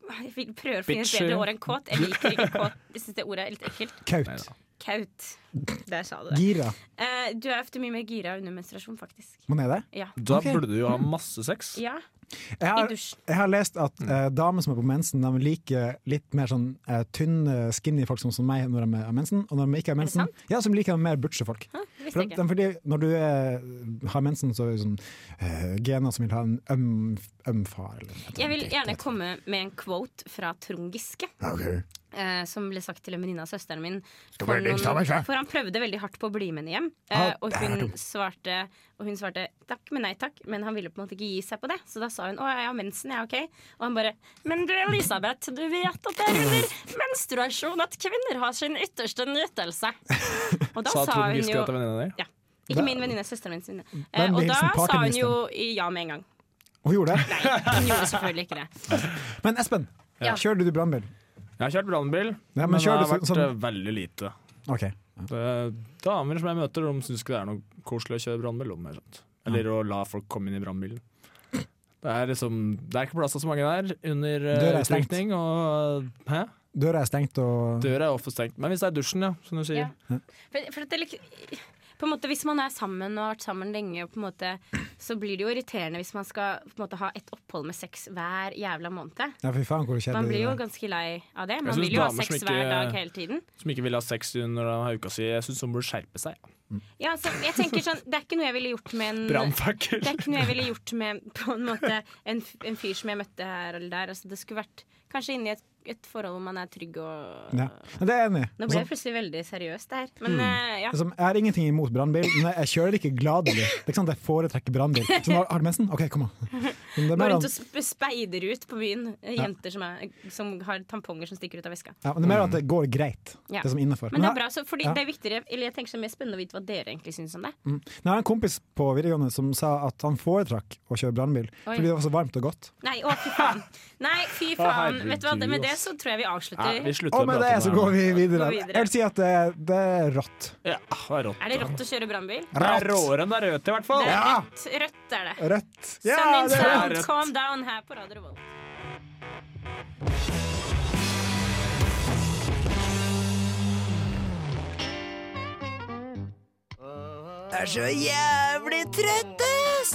Speaker 2: Jeg vil- prøver å finne et
Speaker 4: Bitchy.
Speaker 2: bedre ord enn kåt. Jeg liker ikke kåt. Jeg syns det ordet er litt ekkelt.
Speaker 4: Kaut?
Speaker 2: Kaut. Der sa du det.
Speaker 4: Gira?
Speaker 2: Eh, du er ofte mye mer gira under menstruasjon, faktisk.
Speaker 4: Man er det?
Speaker 2: Ja.
Speaker 1: Da
Speaker 4: Ok.
Speaker 1: burde du jo ha masse sex.
Speaker 2: Ja.
Speaker 4: Jeg har,
Speaker 2: dusjen.
Speaker 4: jeg har lest at
Speaker 1: Mm.
Speaker 4: eh, damer som er på mensen, de liker litt mer sånn eh, tynne, skinny folk som, som meg når de har mensen. Og når de ikke har mensen, ja, så liker de mer butche folk.
Speaker 2: visste
Speaker 4: For
Speaker 2: jeg ikke.
Speaker 4: de, de, fordi når du er, har mensen, så er det sånn eh, gener som vil ha en øm, øm far. Eller noe.
Speaker 2: Jeg vil gjerne komme med en quote fra Trond Giske.
Speaker 4: Ok.
Speaker 2: eh, som ble sagt til en venninne av søsteren min.
Speaker 4: Skal
Speaker 2: For,
Speaker 4: bare ligge sammen, sa jeg.
Speaker 2: for han prøvde veldig hardt på å bli med henne hjem.
Speaker 4: Ja,
Speaker 2: eh, og,
Speaker 4: Ah, det er
Speaker 2: hun
Speaker 4: dumt.
Speaker 2: svarte, og hun svarte takk, men nei takk. Men han ville på en måte ikke gi seg på det. Så da sa hun å, jeg har mensen, jeg, ok. Og han bare men du Elisabeth, du vet at det er under menstruasjon at kvinner har sin ytterste
Speaker 4: *laughs*
Speaker 2: nytelse. Og da sa,
Speaker 1: Sa Trond
Speaker 2: hun
Speaker 1: Giske
Speaker 2: jo
Speaker 1: dette til venninna di?
Speaker 2: Ja. Ikke min venninne, søsteren min sin. Eh,
Speaker 4: Hvem
Speaker 2: og
Speaker 4: vil
Speaker 2: da
Speaker 4: som
Speaker 2: sa hun
Speaker 4: partyminister?
Speaker 2: jo ja med en gang.
Speaker 4: Og hun gjorde det.
Speaker 2: Hun gjorde selvfølgelig ikke det.
Speaker 4: Men Espen,
Speaker 1: Ja.
Speaker 4: kjører du brannbil?
Speaker 1: Jeg har kjørt brannbil,
Speaker 4: Ja,
Speaker 1: men
Speaker 4: men
Speaker 1: det
Speaker 4: kjører
Speaker 1: har
Speaker 4: du
Speaker 1: vært
Speaker 4: sånn-
Speaker 1: eh, veldig lite.
Speaker 4: Ok.
Speaker 1: Det, damer som jeg møter, de syns ikke det er noe koselig å kjøre brannbil. om, eller sånt. Eller å la folk komme inn i brannbilen. Det er liksom, det er ikke plass til så mange der under eh,
Speaker 4: Døra er stengt.
Speaker 1: utrykning. Og, hæ?
Speaker 4: Døra er stengt, og
Speaker 1: Døra er ofte stengt. Men hvis det er dusjen, ja, som du sier.
Speaker 2: For, for at det, er lik- på en måte, hvis man er sammen og har vært sammen lenge, og på en måte, så blir det jo irriterende hvis man skal på en måte, ha et opphold med sex hver jævla måned.
Speaker 4: Ja, fy faen, hvor
Speaker 2: Man blir
Speaker 4: kjedelig
Speaker 2: jo
Speaker 4: det er.
Speaker 2: ganske lei av det.
Speaker 1: Jeg
Speaker 2: Man
Speaker 1: synes
Speaker 2: vil jo ha
Speaker 1: damer som
Speaker 2: sex
Speaker 1: ikke-
Speaker 2: hver dag hele tiden.
Speaker 1: Som ikke vil ha sex under de har uka si. Jeg syns de burde skjerpe seg.
Speaker 2: Ja, så jeg tenker sånn, Det er ikke noe jeg ville gjort med en
Speaker 1: Brannfakkel.
Speaker 2: Det er ikke noe jeg ville gjort med på en måte en, f- en fyr som jeg møtte her eller der. Altså, det skulle vært kanskje inni et, et forhold hvor man er trygg og
Speaker 4: Ja. Men Det er jeg enig i.
Speaker 2: Nå ble
Speaker 4: Altså,
Speaker 2: det plutselig veldig seriøst, det her. Men eh, ja.
Speaker 4: Liksom, jeg har ingenting imot brannbil, men jeg kjører ikke gladelig. Det er ikke sant at jeg foretrekker brannbil. Sånn, har- har du mensen? OK, kom an. Men det er
Speaker 2: *laughs* Går
Speaker 4: mer
Speaker 2: rundt og
Speaker 4: at-
Speaker 2: sp- speider ut på byen eh,
Speaker 4: Ja.
Speaker 2: jenter som, er, som har tamponger som stikker ut av veska.
Speaker 4: Ja, men det er mer at det går greit,
Speaker 2: Ja.
Speaker 4: det som er innenfor.
Speaker 2: Men det er
Speaker 4: jeg-
Speaker 2: bra, så, fordi
Speaker 4: ja.
Speaker 2: det er viktigere Eller jeg tenker så mer spennende å vite hva dere egentlig syns om det.
Speaker 4: Mm. Men Jeg har en kompis på videregående som sa at han foretrakk å kjøre brannbil
Speaker 2: Oi.
Speaker 4: fordi det var så varmt og godt.
Speaker 2: Nei, å fy faen! Nei, fy
Speaker 1: Å,
Speaker 2: faen.
Speaker 1: herregud,
Speaker 2: Vet du hva, det- med det
Speaker 1: ass.
Speaker 2: så tror jeg vi avslutter.
Speaker 4: Og med det så går vi videre.
Speaker 2: Gå videre.
Speaker 4: Jeg vil si at det, er- det er rått.
Speaker 1: Ja, det er rått.
Speaker 2: Er det rått å kjøre brannbil?
Speaker 1: Det er råere enn det er rødt, i hvert fall.
Speaker 2: Det er rødt, rødt er det.
Speaker 4: Rødt.
Speaker 2: Sun
Speaker 4: Ja,
Speaker 2: in
Speaker 4: det er
Speaker 2: sound,
Speaker 4: rødt.
Speaker 2: calm down her på Radio Revolt.
Speaker 11: Jeg er så jævlig trøtt, ass!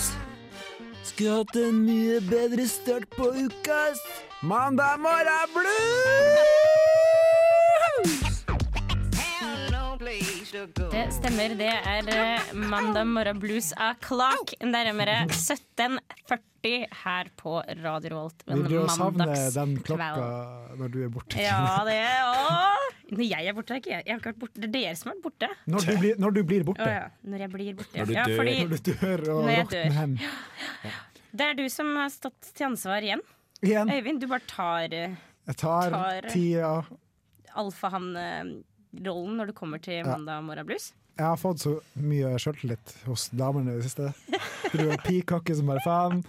Speaker 11: Skulle hatt en mye bedre start på uka, ass. Mandag morgen er blues!
Speaker 2: Det stemmer. Det er eh, mandag morgen blues av Clark.
Speaker 4: *laughs*
Speaker 2: Nærmere 17.40 her på Radio Revolt.
Speaker 4: Vi blir jo savne
Speaker 2: mandagskveld.
Speaker 4: den klokka når du er borte.
Speaker 2: Ja, det å, Når jeg er borte, er ikke jeg. jeg har ikke vært borte. Det er dere som har vært borte.
Speaker 4: Når du blir, når du blir borte.
Speaker 2: Å ja. Når jeg blir borte.
Speaker 4: Når du
Speaker 2: ja,
Speaker 4: dør.
Speaker 2: fordi-
Speaker 4: Når du dør og
Speaker 2: Når jeg
Speaker 4: råtner
Speaker 2: dør.
Speaker 4: hen.
Speaker 2: Ja, ja, ja. Det er du som har stått til ansvar igjen.
Speaker 4: Igjen.
Speaker 2: Øyvind, du bare tar eh,
Speaker 4: Jeg tar
Speaker 2: Tar-
Speaker 4: tida
Speaker 2: alfahann-rollen eh, når du kommer til
Speaker 4: Ja.
Speaker 2: mandag morgen blues.
Speaker 4: Jeg har fått så mye sjøltillit hos damene i det siste. Du er pikokke som bare faen.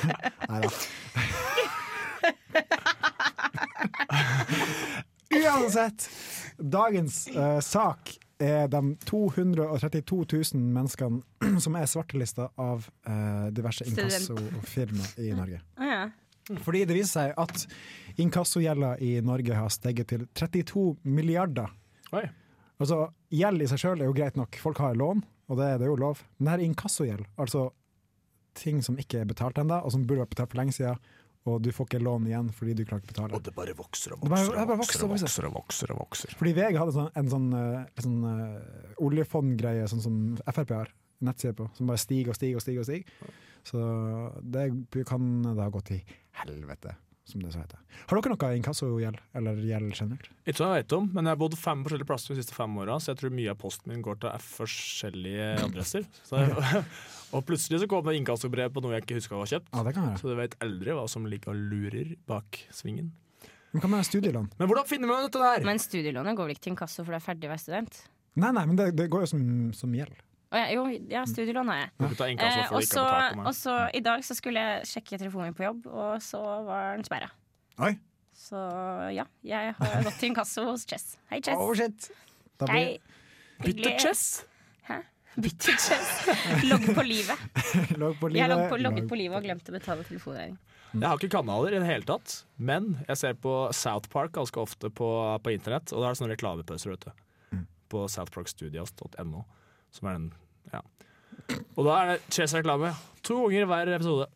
Speaker 4: *laughs* Nei da. Uansett, dagens eh, sak er de 232 000 menneskene *clears throat* som er svartelista av eh, diverse
Speaker 2: Student.
Speaker 4: inkassofirmaer i Norge.
Speaker 2: Å ja.
Speaker 4: Fordi det viser seg at inkassogjelda i Norge har steget til 32 milliarder. Altså, gjeld i seg sjøl er jo greit nok, folk har lån, og det, det er jo lov. Men det her er inkassogjeld, altså ting som ikke er betalt ennå, og som burde vært betalt for lenge siden, og du får ikke lån igjen fordi du klarer ikke å betale. Og det bare vokser og
Speaker 12: vokser og
Speaker 4: vokser og vokser.
Speaker 12: og vokser og vokser.
Speaker 4: Fordi VG hadde sånn, en sånn, eh, litt sånn eh, oljefondgreie, sånn som Frp har nettside på, som bare stiger og stiger og stiger. og stiger. Så det kan da gå til helvete, som det så heter. Har dere noe inkassogjeld, eller gjeld generelt?
Speaker 1: Ikke som jeg vet om, men jeg har bodd fem forskjellige plasser de siste fem åra, så jeg tror mye av posten min går til forskjellige adresser. Så jeg, *laughs* og plutselig så kom det inkassobrev på noe jeg ikke huska var kjøpt.
Speaker 4: Ja, det kan være.
Speaker 1: Så du vet aldri hva som ligger og lurer bak svingen.
Speaker 4: Men hva med studielån?
Speaker 1: Men hvordan finner man dette der?
Speaker 2: Men studielånet går vel ikke til inkasso for du er ferdig å være student?
Speaker 4: Nei, nei, men det, det går jo som, som gjeld. *laughs*
Speaker 2: Å ja, jo, ja, studielån har jeg.
Speaker 4: Du tar inkasso
Speaker 2: Eh,
Speaker 4: for å
Speaker 2: og
Speaker 4: ikke
Speaker 2: så-
Speaker 4: betale meg.
Speaker 2: Og så i dag så skulle jeg sjekke telefonen min på jobb, og så var den sperra.
Speaker 4: Oi.
Speaker 2: Så ja, jeg har gått til inkasso hos Chess. Hei, Chess.
Speaker 4: Oh, shit. Da blir-
Speaker 2: Hei.
Speaker 4: Bytte
Speaker 2: Hyggelig.
Speaker 4: Chess?
Speaker 2: Hæ? Bytte Chess. Logg på
Speaker 4: *laughs*
Speaker 2: livet.
Speaker 4: Logg på
Speaker 2: Jeg har logg på,
Speaker 4: livet.
Speaker 2: logget
Speaker 1: Logg
Speaker 2: på livet og glemt å betale telefonregning.
Speaker 1: Jeg har ikke kanaler i det hele tatt, men jeg ser på South Park ganske ofte på, på internett, og da er det sånne reklamepauser, vet du. På southparkstudios.no, som er den ja. Og da er det Chess-reklame to ganger i hver episode.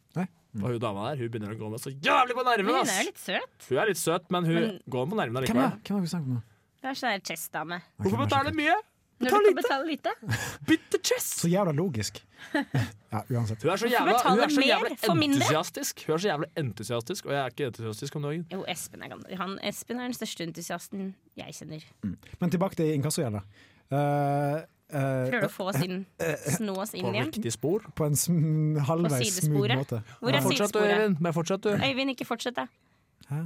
Speaker 1: Og hun dama der hun begynner å gå med så jævlig på
Speaker 2: Men
Speaker 1: nervene!
Speaker 2: hun
Speaker 1: ass!
Speaker 2: er jo litt søt.
Speaker 1: Hun er litt søt, men hun
Speaker 2: Men-
Speaker 1: går på nervene
Speaker 4: Hvem
Speaker 1: likevel.
Speaker 4: er hvem er det vi snakker om nå?
Speaker 2: Hun er sånn her Chess-dame.
Speaker 1: Hvorfor betaler mye?
Speaker 2: Når du kan betale lite.
Speaker 4: Så jævla
Speaker 2: *laughs*
Speaker 4: logisk. Ja, uansett.
Speaker 1: Hun er så
Speaker 2: Hvorfor
Speaker 1: jævla, hun
Speaker 2: betaler
Speaker 1: er så
Speaker 2: mer
Speaker 1: jævla
Speaker 2: for mindre?
Speaker 1: entusiastisk, Hun er så jævla entusiastisk, og jeg er ikke entusiastisk om dagen.
Speaker 2: Jo, Espen er, gammel. han, Espen er den største entusiasten jeg kjenner.
Speaker 4: Men tilbake til inkassogjelda. Uh,
Speaker 2: Prøver å få oss inn, snå oss inn igjen.
Speaker 1: spor?
Speaker 4: På en sm
Speaker 2: På
Speaker 4: halvveis smooth
Speaker 2: sidesporet.
Speaker 4: måte.
Speaker 2: Hvor er
Speaker 1: Fortsett du,
Speaker 2: sidesporet?
Speaker 1: Øyvind. Men fortsett, du.
Speaker 2: Øyvind, ikke fortsett, da.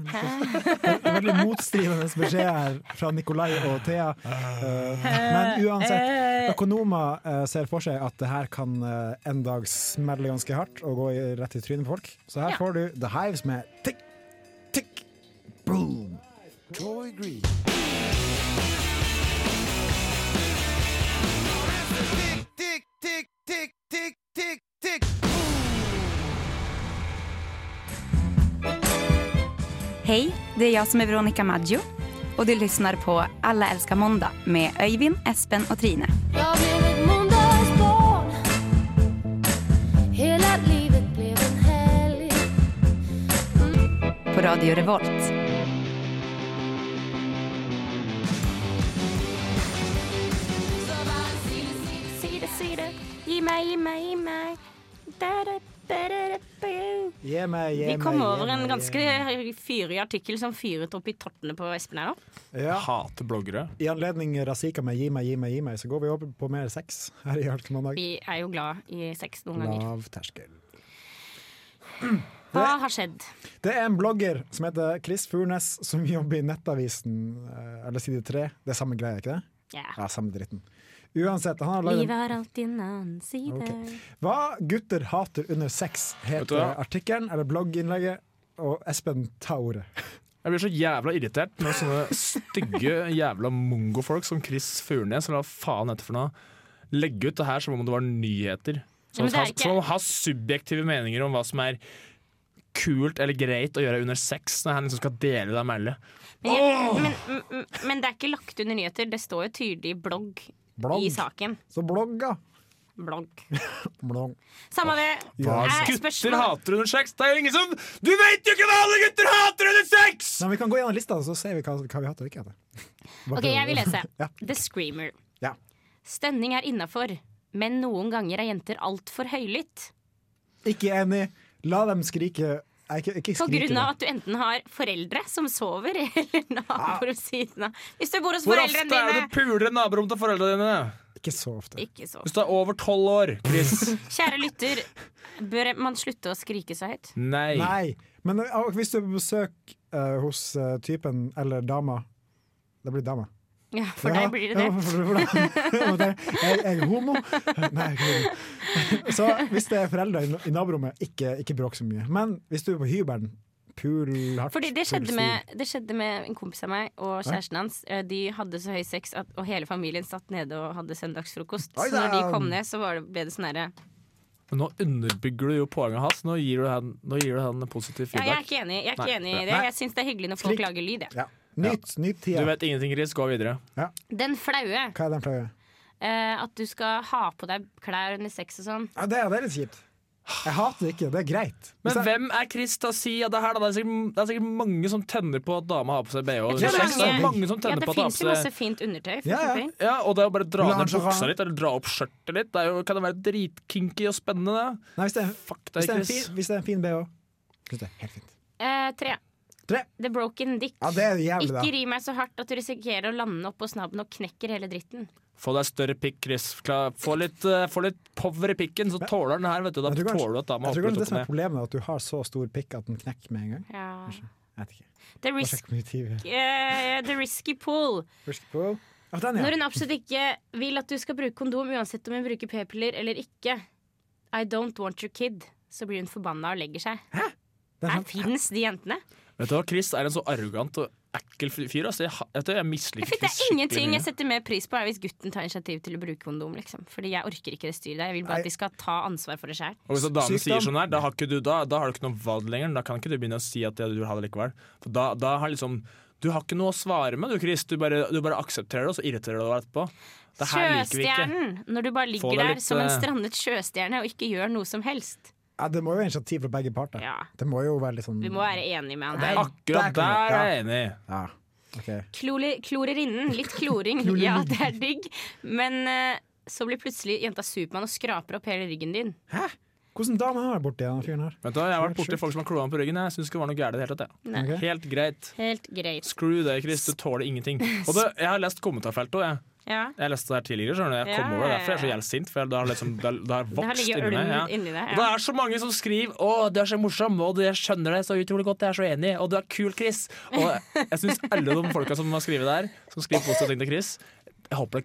Speaker 4: Det er veldig motstridende beskjed her fra Nikolai og Thea. Eh, men uansett, økonomer eh, ser for seg at det her kan eh, en dag smelle ganske hardt og gå i, rett i trynet på folk. Så her får du The Hives med tikk, tikk, boom.
Speaker 11: Joy Green. Tick, tick, tick, tick, tick, tick.
Speaker 13: Hej, det är jag som är Veronica Maggio och du lyssnar på Alla älskar måndag med Öyvind, Espen och Trine.
Speaker 14: Jag blev ett måndagsbarn Hela livet blev en helg
Speaker 13: På Radio Revolt.
Speaker 2: Si det, si det. Gi meg, gi meg, gi meg. Da, da, da, da, da, da.
Speaker 4: Gi meg, gi
Speaker 2: Vi
Speaker 4: meg,
Speaker 2: kom
Speaker 4: gi
Speaker 2: over en
Speaker 4: meg,
Speaker 2: ganske
Speaker 4: gi meg.
Speaker 2: fyrig artikkel som fyret opp i tottene på Espen her nå.
Speaker 4: ja.
Speaker 1: Hater bloggere.
Speaker 4: I anledning Razika med 'gi meg, gi meg, gi meg', så går vi over på mer sex her i Alt mandag.
Speaker 2: Vi er jo glad i sex noen ganger.
Speaker 4: Lav terskel.
Speaker 2: Hva har skjedd?
Speaker 4: Det er en blogger som heter Chris Furnes, som jobber i Nettavisen, eh, eller Side 3. Det er samme greia, ikke det?
Speaker 2: Ja.
Speaker 4: Ja, samme dritten. Uansett, han har laget
Speaker 2: Livet har alltid en annen side.
Speaker 4: Hva gutter hater under sex,
Speaker 1: Vet du
Speaker 4: heter
Speaker 1: hva?
Speaker 4: artikkelen, eller blogginnlegget, og Espen tar ordet.
Speaker 1: Jeg blir så jævla irritert når sånne stygge jævla mongofolk som Chris Furnes eller hva faen heter for noe, legger ut det her som om det var nyheter. Som
Speaker 2: Ja, men det er
Speaker 1: om
Speaker 2: ikke-
Speaker 1: han har subjektive meninger om hva som er kult eller greit å gjøre under sex, når han liksom skal dele det med alle.
Speaker 2: Men, jeg, men, men, men det er ikke lagt under nyheter. Det står jo tydelig blogg,
Speaker 1: Blogg.
Speaker 2: i saken.
Speaker 4: Så blogga.
Speaker 2: Blogg.
Speaker 4: Blogg.
Speaker 2: Samme det.
Speaker 1: Hva
Speaker 2: Eh,
Speaker 1: gutter
Speaker 2: spørsmål-
Speaker 1: hater under sex? Det er jo ingen som Du vet jo ikke hva alle gutter hater under sex!
Speaker 4: Men vi kan gå gjennom lista, så ser vi hva, hva vi hater og ikke hater.
Speaker 2: *laughs*
Speaker 4: Bare
Speaker 2: Ok, jeg vil lese.
Speaker 4: ja.
Speaker 2: The Screamer.
Speaker 4: Ja.
Speaker 2: Stønning er innafor, men noen ganger er jenter altfor høylytt.
Speaker 4: Ikke enig. La dem skrike Nei, ikke, ikke
Speaker 2: På
Speaker 4: skrik i
Speaker 2: grunn av
Speaker 4: det.
Speaker 2: at du enten har foreldre som sover, *laughs* eller naboer ved siden av. Hvis du bor hos
Speaker 1: Hvor ofte
Speaker 2: foreldrene
Speaker 1: er det
Speaker 2: dine
Speaker 1: du puler naborom til foreldrene dine?
Speaker 4: Ikke så ofte.
Speaker 2: Ikke så.
Speaker 1: Hvis du er over tolv år, Chris.
Speaker 2: Kjære lytter, bør man slutte å skrike så høyt?
Speaker 1: Nei.
Speaker 4: Men eh, og hvis du er på besøk eh, hos eh, typen eller dama Det blir dama.
Speaker 2: Ja, for deg blir det det.
Speaker 4: Ja, for, for,
Speaker 2: *laughs*
Speaker 4: for deg. jeg, jeg er homo. Nei, jeg er homo. Så hvis det er foreldre i, i naborommet, ikke, ikke bråk så mye. Men hvis du er på hybelen, pul hardt.
Speaker 2: Fordi det
Speaker 4: pul
Speaker 2: skjedde,
Speaker 4: stiv.
Speaker 2: med, det skjedde med en kompis av meg og
Speaker 4: Ja.
Speaker 2: kjæresten hans. Eh, De hadde så høy sex at og hele familien satt nede og hadde søndagsfrokost.
Speaker 1: Oi
Speaker 2: Så når de
Speaker 1: da.
Speaker 2: kom ned, så var det, ble det sånn herre
Speaker 1: Men nå underbygger du jo poenget hans. Nå gir du han, nå gir du han positiv
Speaker 2: ja, Jeg er
Speaker 1: feedback.
Speaker 2: ikke enig, jeg er
Speaker 1: Nei.
Speaker 2: ikke enig i det.
Speaker 1: Nei.
Speaker 2: Jeg syns det er hyggelig når folk lager lyd, jeg.
Speaker 4: Nytt, nytt tida.
Speaker 1: Du vet ingenting, Chris. Gå videre.
Speaker 2: Den flaue.
Speaker 4: Hva er den flaue?
Speaker 2: eh, at du skal ha på deg klær under sex og sånn.
Speaker 4: Ja, det, er- det er litt kjipt. Jeg hater det ikke, det er greit.
Speaker 1: Men hvem er Chris til å si at det her, da? Det er sikkert, det er sikkert mange som tenner på at dama har på seg bh.
Speaker 2: Jeg
Speaker 1: Det
Speaker 2: tror
Speaker 1: er sikkert mange som
Speaker 2: ja,
Speaker 1: tenner
Speaker 2: det
Speaker 1: på at
Speaker 2: fins jo
Speaker 1: dama har
Speaker 2: masse
Speaker 1: på seg
Speaker 2: fint undertøy. For
Speaker 1: ja, ja.
Speaker 2: eksempel.
Speaker 1: ja, og det er jo bare å dra ned
Speaker 4: Lingerie.
Speaker 1: buksa litt, eller dra opp skjørtet litt. Det er jo, kan det være dritkinky og spennende, det?
Speaker 4: Nei, hvis det er,
Speaker 1: deg,
Speaker 4: hvis det er, en,
Speaker 1: Chris.
Speaker 4: fin, hvis det er en fin bh, syns det er helt fint.
Speaker 2: Eh, tre.
Speaker 4: Tre.
Speaker 2: The Broken Dick.
Speaker 4: Ja, det er jævlig, da.
Speaker 2: Ikke ri meg så hardt at du risikerer å lande oppå snabben og knekker hele dritten.
Speaker 1: Få deg større pikk, Chris. Kla- Få litt, eh, få litt power i pikken, så tåler den her, vet du. Da
Speaker 4: Jeg tror kanskje-
Speaker 1: tåler du at dama
Speaker 4: Jeg
Speaker 1: hopper
Speaker 4: tror kanskje
Speaker 1: litt
Speaker 4: det
Speaker 1: opp
Speaker 4: som er
Speaker 1: og ned.
Speaker 4: problemet, er at du har så stor pikk at den knekker med en gang.
Speaker 2: Ja.
Speaker 4: Kanskje. Jeg vet ikke.
Speaker 2: The,
Speaker 4: Bare sjekk
Speaker 2: risk,
Speaker 4: hvor mye tid vi har.
Speaker 2: eh, the risky pool.
Speaker 4: Risk pool. Ja, den, ja.
Speaker 2: Når hun absolutt ikke vil at du skal bruke kondom uansett om hun bruker p-piller eller ikke. I don't want your kid. Så blir hun forbanna og legger seg. Her fins de jentene.
Speaker 1: Vet du hva, Chris er en så arrogant og ekkel fyr. ass. Jeg, ha- vet du, jeg
Speaker 2: Jeg
Speaker 1: misliker
Speaker 2: vet, det
Speaker 1: Chris
Speaker 2: er ingenting jeg
Speaker 1: mye.
Speaker 2: setter mer pris på er hvis gutten tar initiativ til å bruke kondom. Liksom. Fordi jeg orker ikke det styret der. Jeg vil bare at de skal ta ansvar for det sjøl.
Speaker 1: Og hvis en dame
Speaker 4: Sykdom.
Speaker 1: sier sånn her, da har, ikke du, da, da har du ikke noe valg lenger. Da kan ikke du begynne å si at ja, du vil ha det likevel. For da, da har liksom Du har ikke noe å svare med, du, Chris. Du bare, du bare aksepterer det, og så irriterer du deg over etterpå. Det her liker vi ikke.
Speaker 2: Sjøstjernen! Når du bare
Speaker 1: Få
Speaker 2: ligger
Speaker 1: deg
Speaker 2: der
Speaker 1: litt,
Speaker 2: som en
Speaker 1: eh,
Speaker 2: strandet sjøstjerne og ikke gjør noe som helst.
Speaker 4: Ja, det må jo være initiativ fra begge parter. Det må jo være litt sånn
Speaker 2: Vi må være enige med han
Speaker 1: Det er
Speaker 2: her.
Speaker 1: akkurat der er jeg enig.
Speaker 4: Ja. ok.
Speaker 2: Kloli- Klorerinnen. Litt
Speaker 1: *laughs*
Speaker 2: kloring. ja, det er digg. Men eh, så blir plutselig jenta Supermann og skraper opp hele ryggen din.
Speaker 4: Hvordan dame har jeg borti den fyren her?
Speaker 1: Vet du, hva, jeg har vært borti folk som har kloa meg på ryggen. Jeg syns ikke det var noe gærent i det hele tatt. jeg.
Speaker 2: Nei. Ok.
Speaker 1: Helt greit.
Speaker 2: Helt greit.
Speaker 1: Screw det, Chris. Du tåler ingenting. Og det, jeg har lest kommentarfeltet òg, jeg.
Speaker 2: Ja.
Speaker 1: Jeg leste det her tidligere, skjønner du. Jeg kom
Speaker 2: Ja,
Speaker 1: over det.
Speaker 2: ja,
Speaker 1: Derfor er jeg så jævlig sint. For det har, liksom, det har, det har
Speaker 2: Det har
Speaker 1: vokst
Speaker 2: ligget
Speaker 1: inni meg.
Speaker 2: ulmet inni deg,
Speaker 1: Og det er så mange som skriver 'Å, du er så morsom', og du- 'jeg skjønner deg så utrolig godt', 'jeg er så enig', og 'du er kul, Chris'. Og jeg syns alle de folka som har skrevet der, som skriver positive ting til Chris Jeg håper dere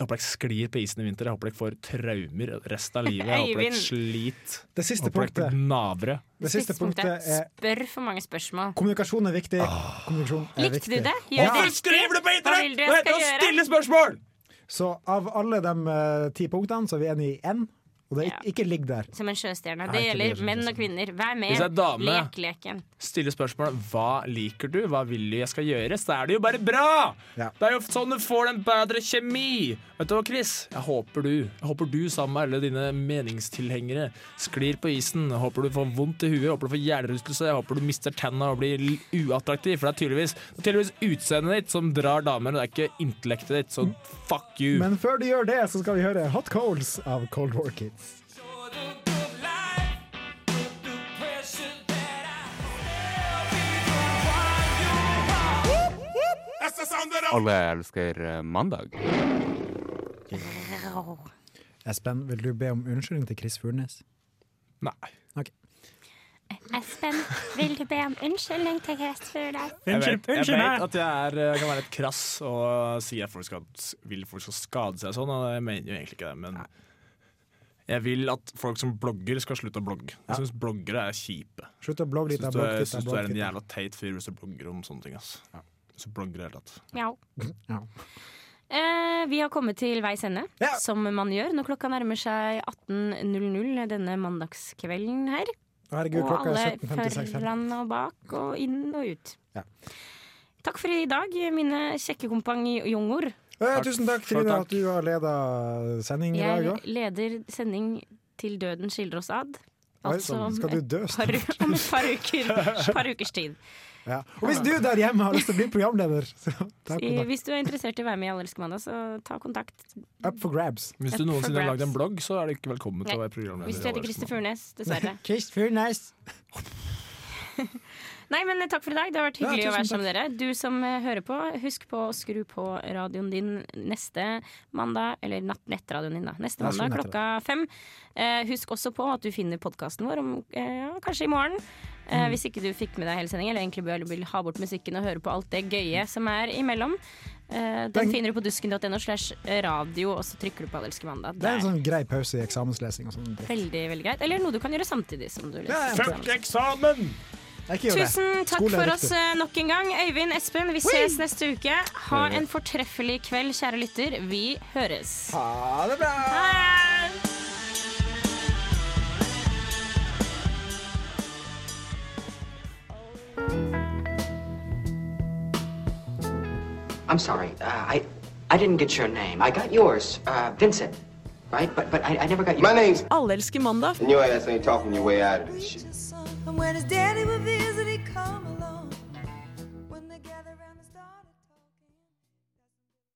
Speaker 1: jeg håper dere sklir på isen i vinter. Jeg håper dere får traumer resten av livet. Jeg håper dere sliter.
Speaker 4: Det siste
Speaker 1: Jeg håper dere
Speaker 4: punktet.
Speaker 1: blir navere.
Speaker 4: Det siste punktet er
Speaker 2: Spør for mange spørsmål.
Speaker 4: kommunikasjon er viktig.
Speaker 1: Ah.
Speaker 4: Kommunikasjon er
Speaker 2: Likte du
Speaker 4: viktig.
Speaker 2: det? Gjør
Speaker 4: Og-
Speaker 2: det riktig. Hva vil du jeg skal gjøre?
Speaker 1: spørsmål!
Speaker 4: Så av alle de eh, ti punktene, så er vi enige i én, og det er ikke, ikke ligg der.
Speaker 2: Som en sjøstjerne.
Speaker 4: Nei,
Speaker 2: Det
Speaker 4: ikke det, liksom.
Speaker 2: gjelder
Speaker 4: som
Speaker 2: menn og kvinner. Vær med.
Speaker 1: Hvis jeg er dame-
Speaker 2: Lek leken.
Speaker 1: Stille spørsmål hva liker du, hva vil du jeg skal gjøre, så er det jo bare bra! Det er jo sånn du får den bedre kjemi! Vet du hva, Chris? Jeg håper du, jeg håper du sammen med alle dine meningstilhengere sklir på isen. Jeg håper du får vondt i huet, jeg håper du får hjernerystelse, jeg håper du mister tenna og blir l- uattraktiv, for det er tydeligvis, det er tydeligvis utseendet ditt som drar damer, og det er ikke intellektet ditt, så fuck you!
Speaker 4: Men før du gjør det, så skal vi høre Hot Coals av Cold War Kids.
Speaker 12: Alle elsker eh, mandag.
Speaker 4: Espen, vil du be om unnskyldning til Chris Furnes?
Speaker 1: Nei.
Speaker 15: Espen, vil du be om unnskyldning til Chris Furnes?
Speaker 1: Jeg vet, jeg
Speaker 4: unnskyld meg.
Speaker 1: vet at jeg er, eh, kan være litt krass og si at folk skal, vil folk skal skade seg sånn, og jeg mener jo egentlig ikke det, men jeg vil at folk som blogger skal slutte å blogge. Jeg syns bloggere er kjipe.
Speaker 4: Slutt å blogge litt.
Speaker 1: Jeg
Speaker 4: da,
Speaker 1: syns du, er- jeg
Speaker 4: blogg litt, da,
Speaker 1: synes du
Speaker 4: blogg
Speaker 1: er en
Speaker 4: litt, da.
Speaker 1: jævla teit fyr hvis du blogger om sånne ting. Ass. Hvis du blogger i det hele tatt.
Speaker 2: Mjau.
Speaker 4: Ja.
Speaker 2: Eh, vi har kommet til veis ende,
Speaker 1: Ja.
Speaker 2: som man gjør når klokka nærmer seg 18.00 denne mandagskvelden her.
Speaker 4: Herregud,
Speaker 2: og
Speaker 4: klokka er
Speaker 2: alle
Speaker 4: 17.56 her.
Speaker 2: foran og bak og inn og ut.
Speaker 4: Ja.
Speaker 2: Takk for i dag, mine kjekke kompanjonger.
Speaker 4: Eh, tusen takk, Trine, at du har leda sending i dag
Speaker 2: Jeg
Speaker 4: òg.
Speaker 2: leder sending til døden skildrer oss ad.
Speaker 4: Oi,
Speaker 2: Altså
Speaker 4: sånn.
Speaker 2: om
Speaker 4: Skal du
Speaker 2: et
Speaker 4: *laughs* dø
Speaker 2: par, om et par,
Speaker 4: *laughs*
Speaker 2: uker, par ukers tid.
Speaker 4: Ja. Og hvis du der hjemme har lyst til å bli programleder, *laughs* så ta
Speaker 2: I-
Speaker 4: kontakt.
Speaker 2: Hvis du er interessert i å være med i Allelske mandag, så ta kontakt.
Speaker 4: Up for grabs.
Speaker 1: Hvis du
Speaker 2: Up for
Speaker 1: noensinne har
Speaker 2: grabs.
Speaker 1: lagd en blogg, så er du ikke velkommen til å
Speaker 2: Nei.
Speaker 1: være programleder.
Speaker 4: *laughs*
Speaker 2: Hvis du heter Christer Furnes, dessverre.
Speaker 4: Chris Furnes.
Speaker 2: Nei, men eh, takk for i dag. Det har vært hyggelig å
Speaker 3: Ja, tusen
Speaker 2: være sammen med
Speaker 3: takk.
Speaker 2: dere. Du som eh, hører på, husk på å skru på radioen din neste mandag, eller natt, nettradioen din da, neste
Speaker 3: Ja, skru
Speaker 2: mandag klokka
Speaker 3: nettradioen.
Speaker 2: fem. Eh, husk også på at du finner podkasten vår om eh, ja, kanskje i morgen. Eh,
Speaker 3: Mm.
Speaker 2: hvis ikke du fikk med deg hele sendingen, eller egentlig bare vil ha bort musikken og høre på alt det gøye som er imellom. Eh, den finner du på dusken.no slash radio, og så trykker du på Allelske mandag.
Speaker 4: Det er en
Speaker 2: Der.
Speaker 4: sånn grei pause i eksamenslesing. Og sånn.
Speaker 2: Veldig, veldig greit. Eller noe du kan gjøre samtidig som du leser. eksamen.
Speaker 1: eksamen!
Speaker 2: Tusen takk for oss eh, nok en gang. Øyvind, Espen, vi ses neste uke. Ha
Speaker 11: Gjør vi.
Speaker 2: en fortreffelig kveld, kjære lytter. Vi høres.
Speaker 11: Ha det bra!
Speaker 16: I'm sorry. Uh, I I didn't get your name. I got yours, uh, Vincent, right? But but I, I never got your. My name's.
Speaker 17: Allelske mandag.
Speaker 18: And your ass ain't talking your way out of this shit.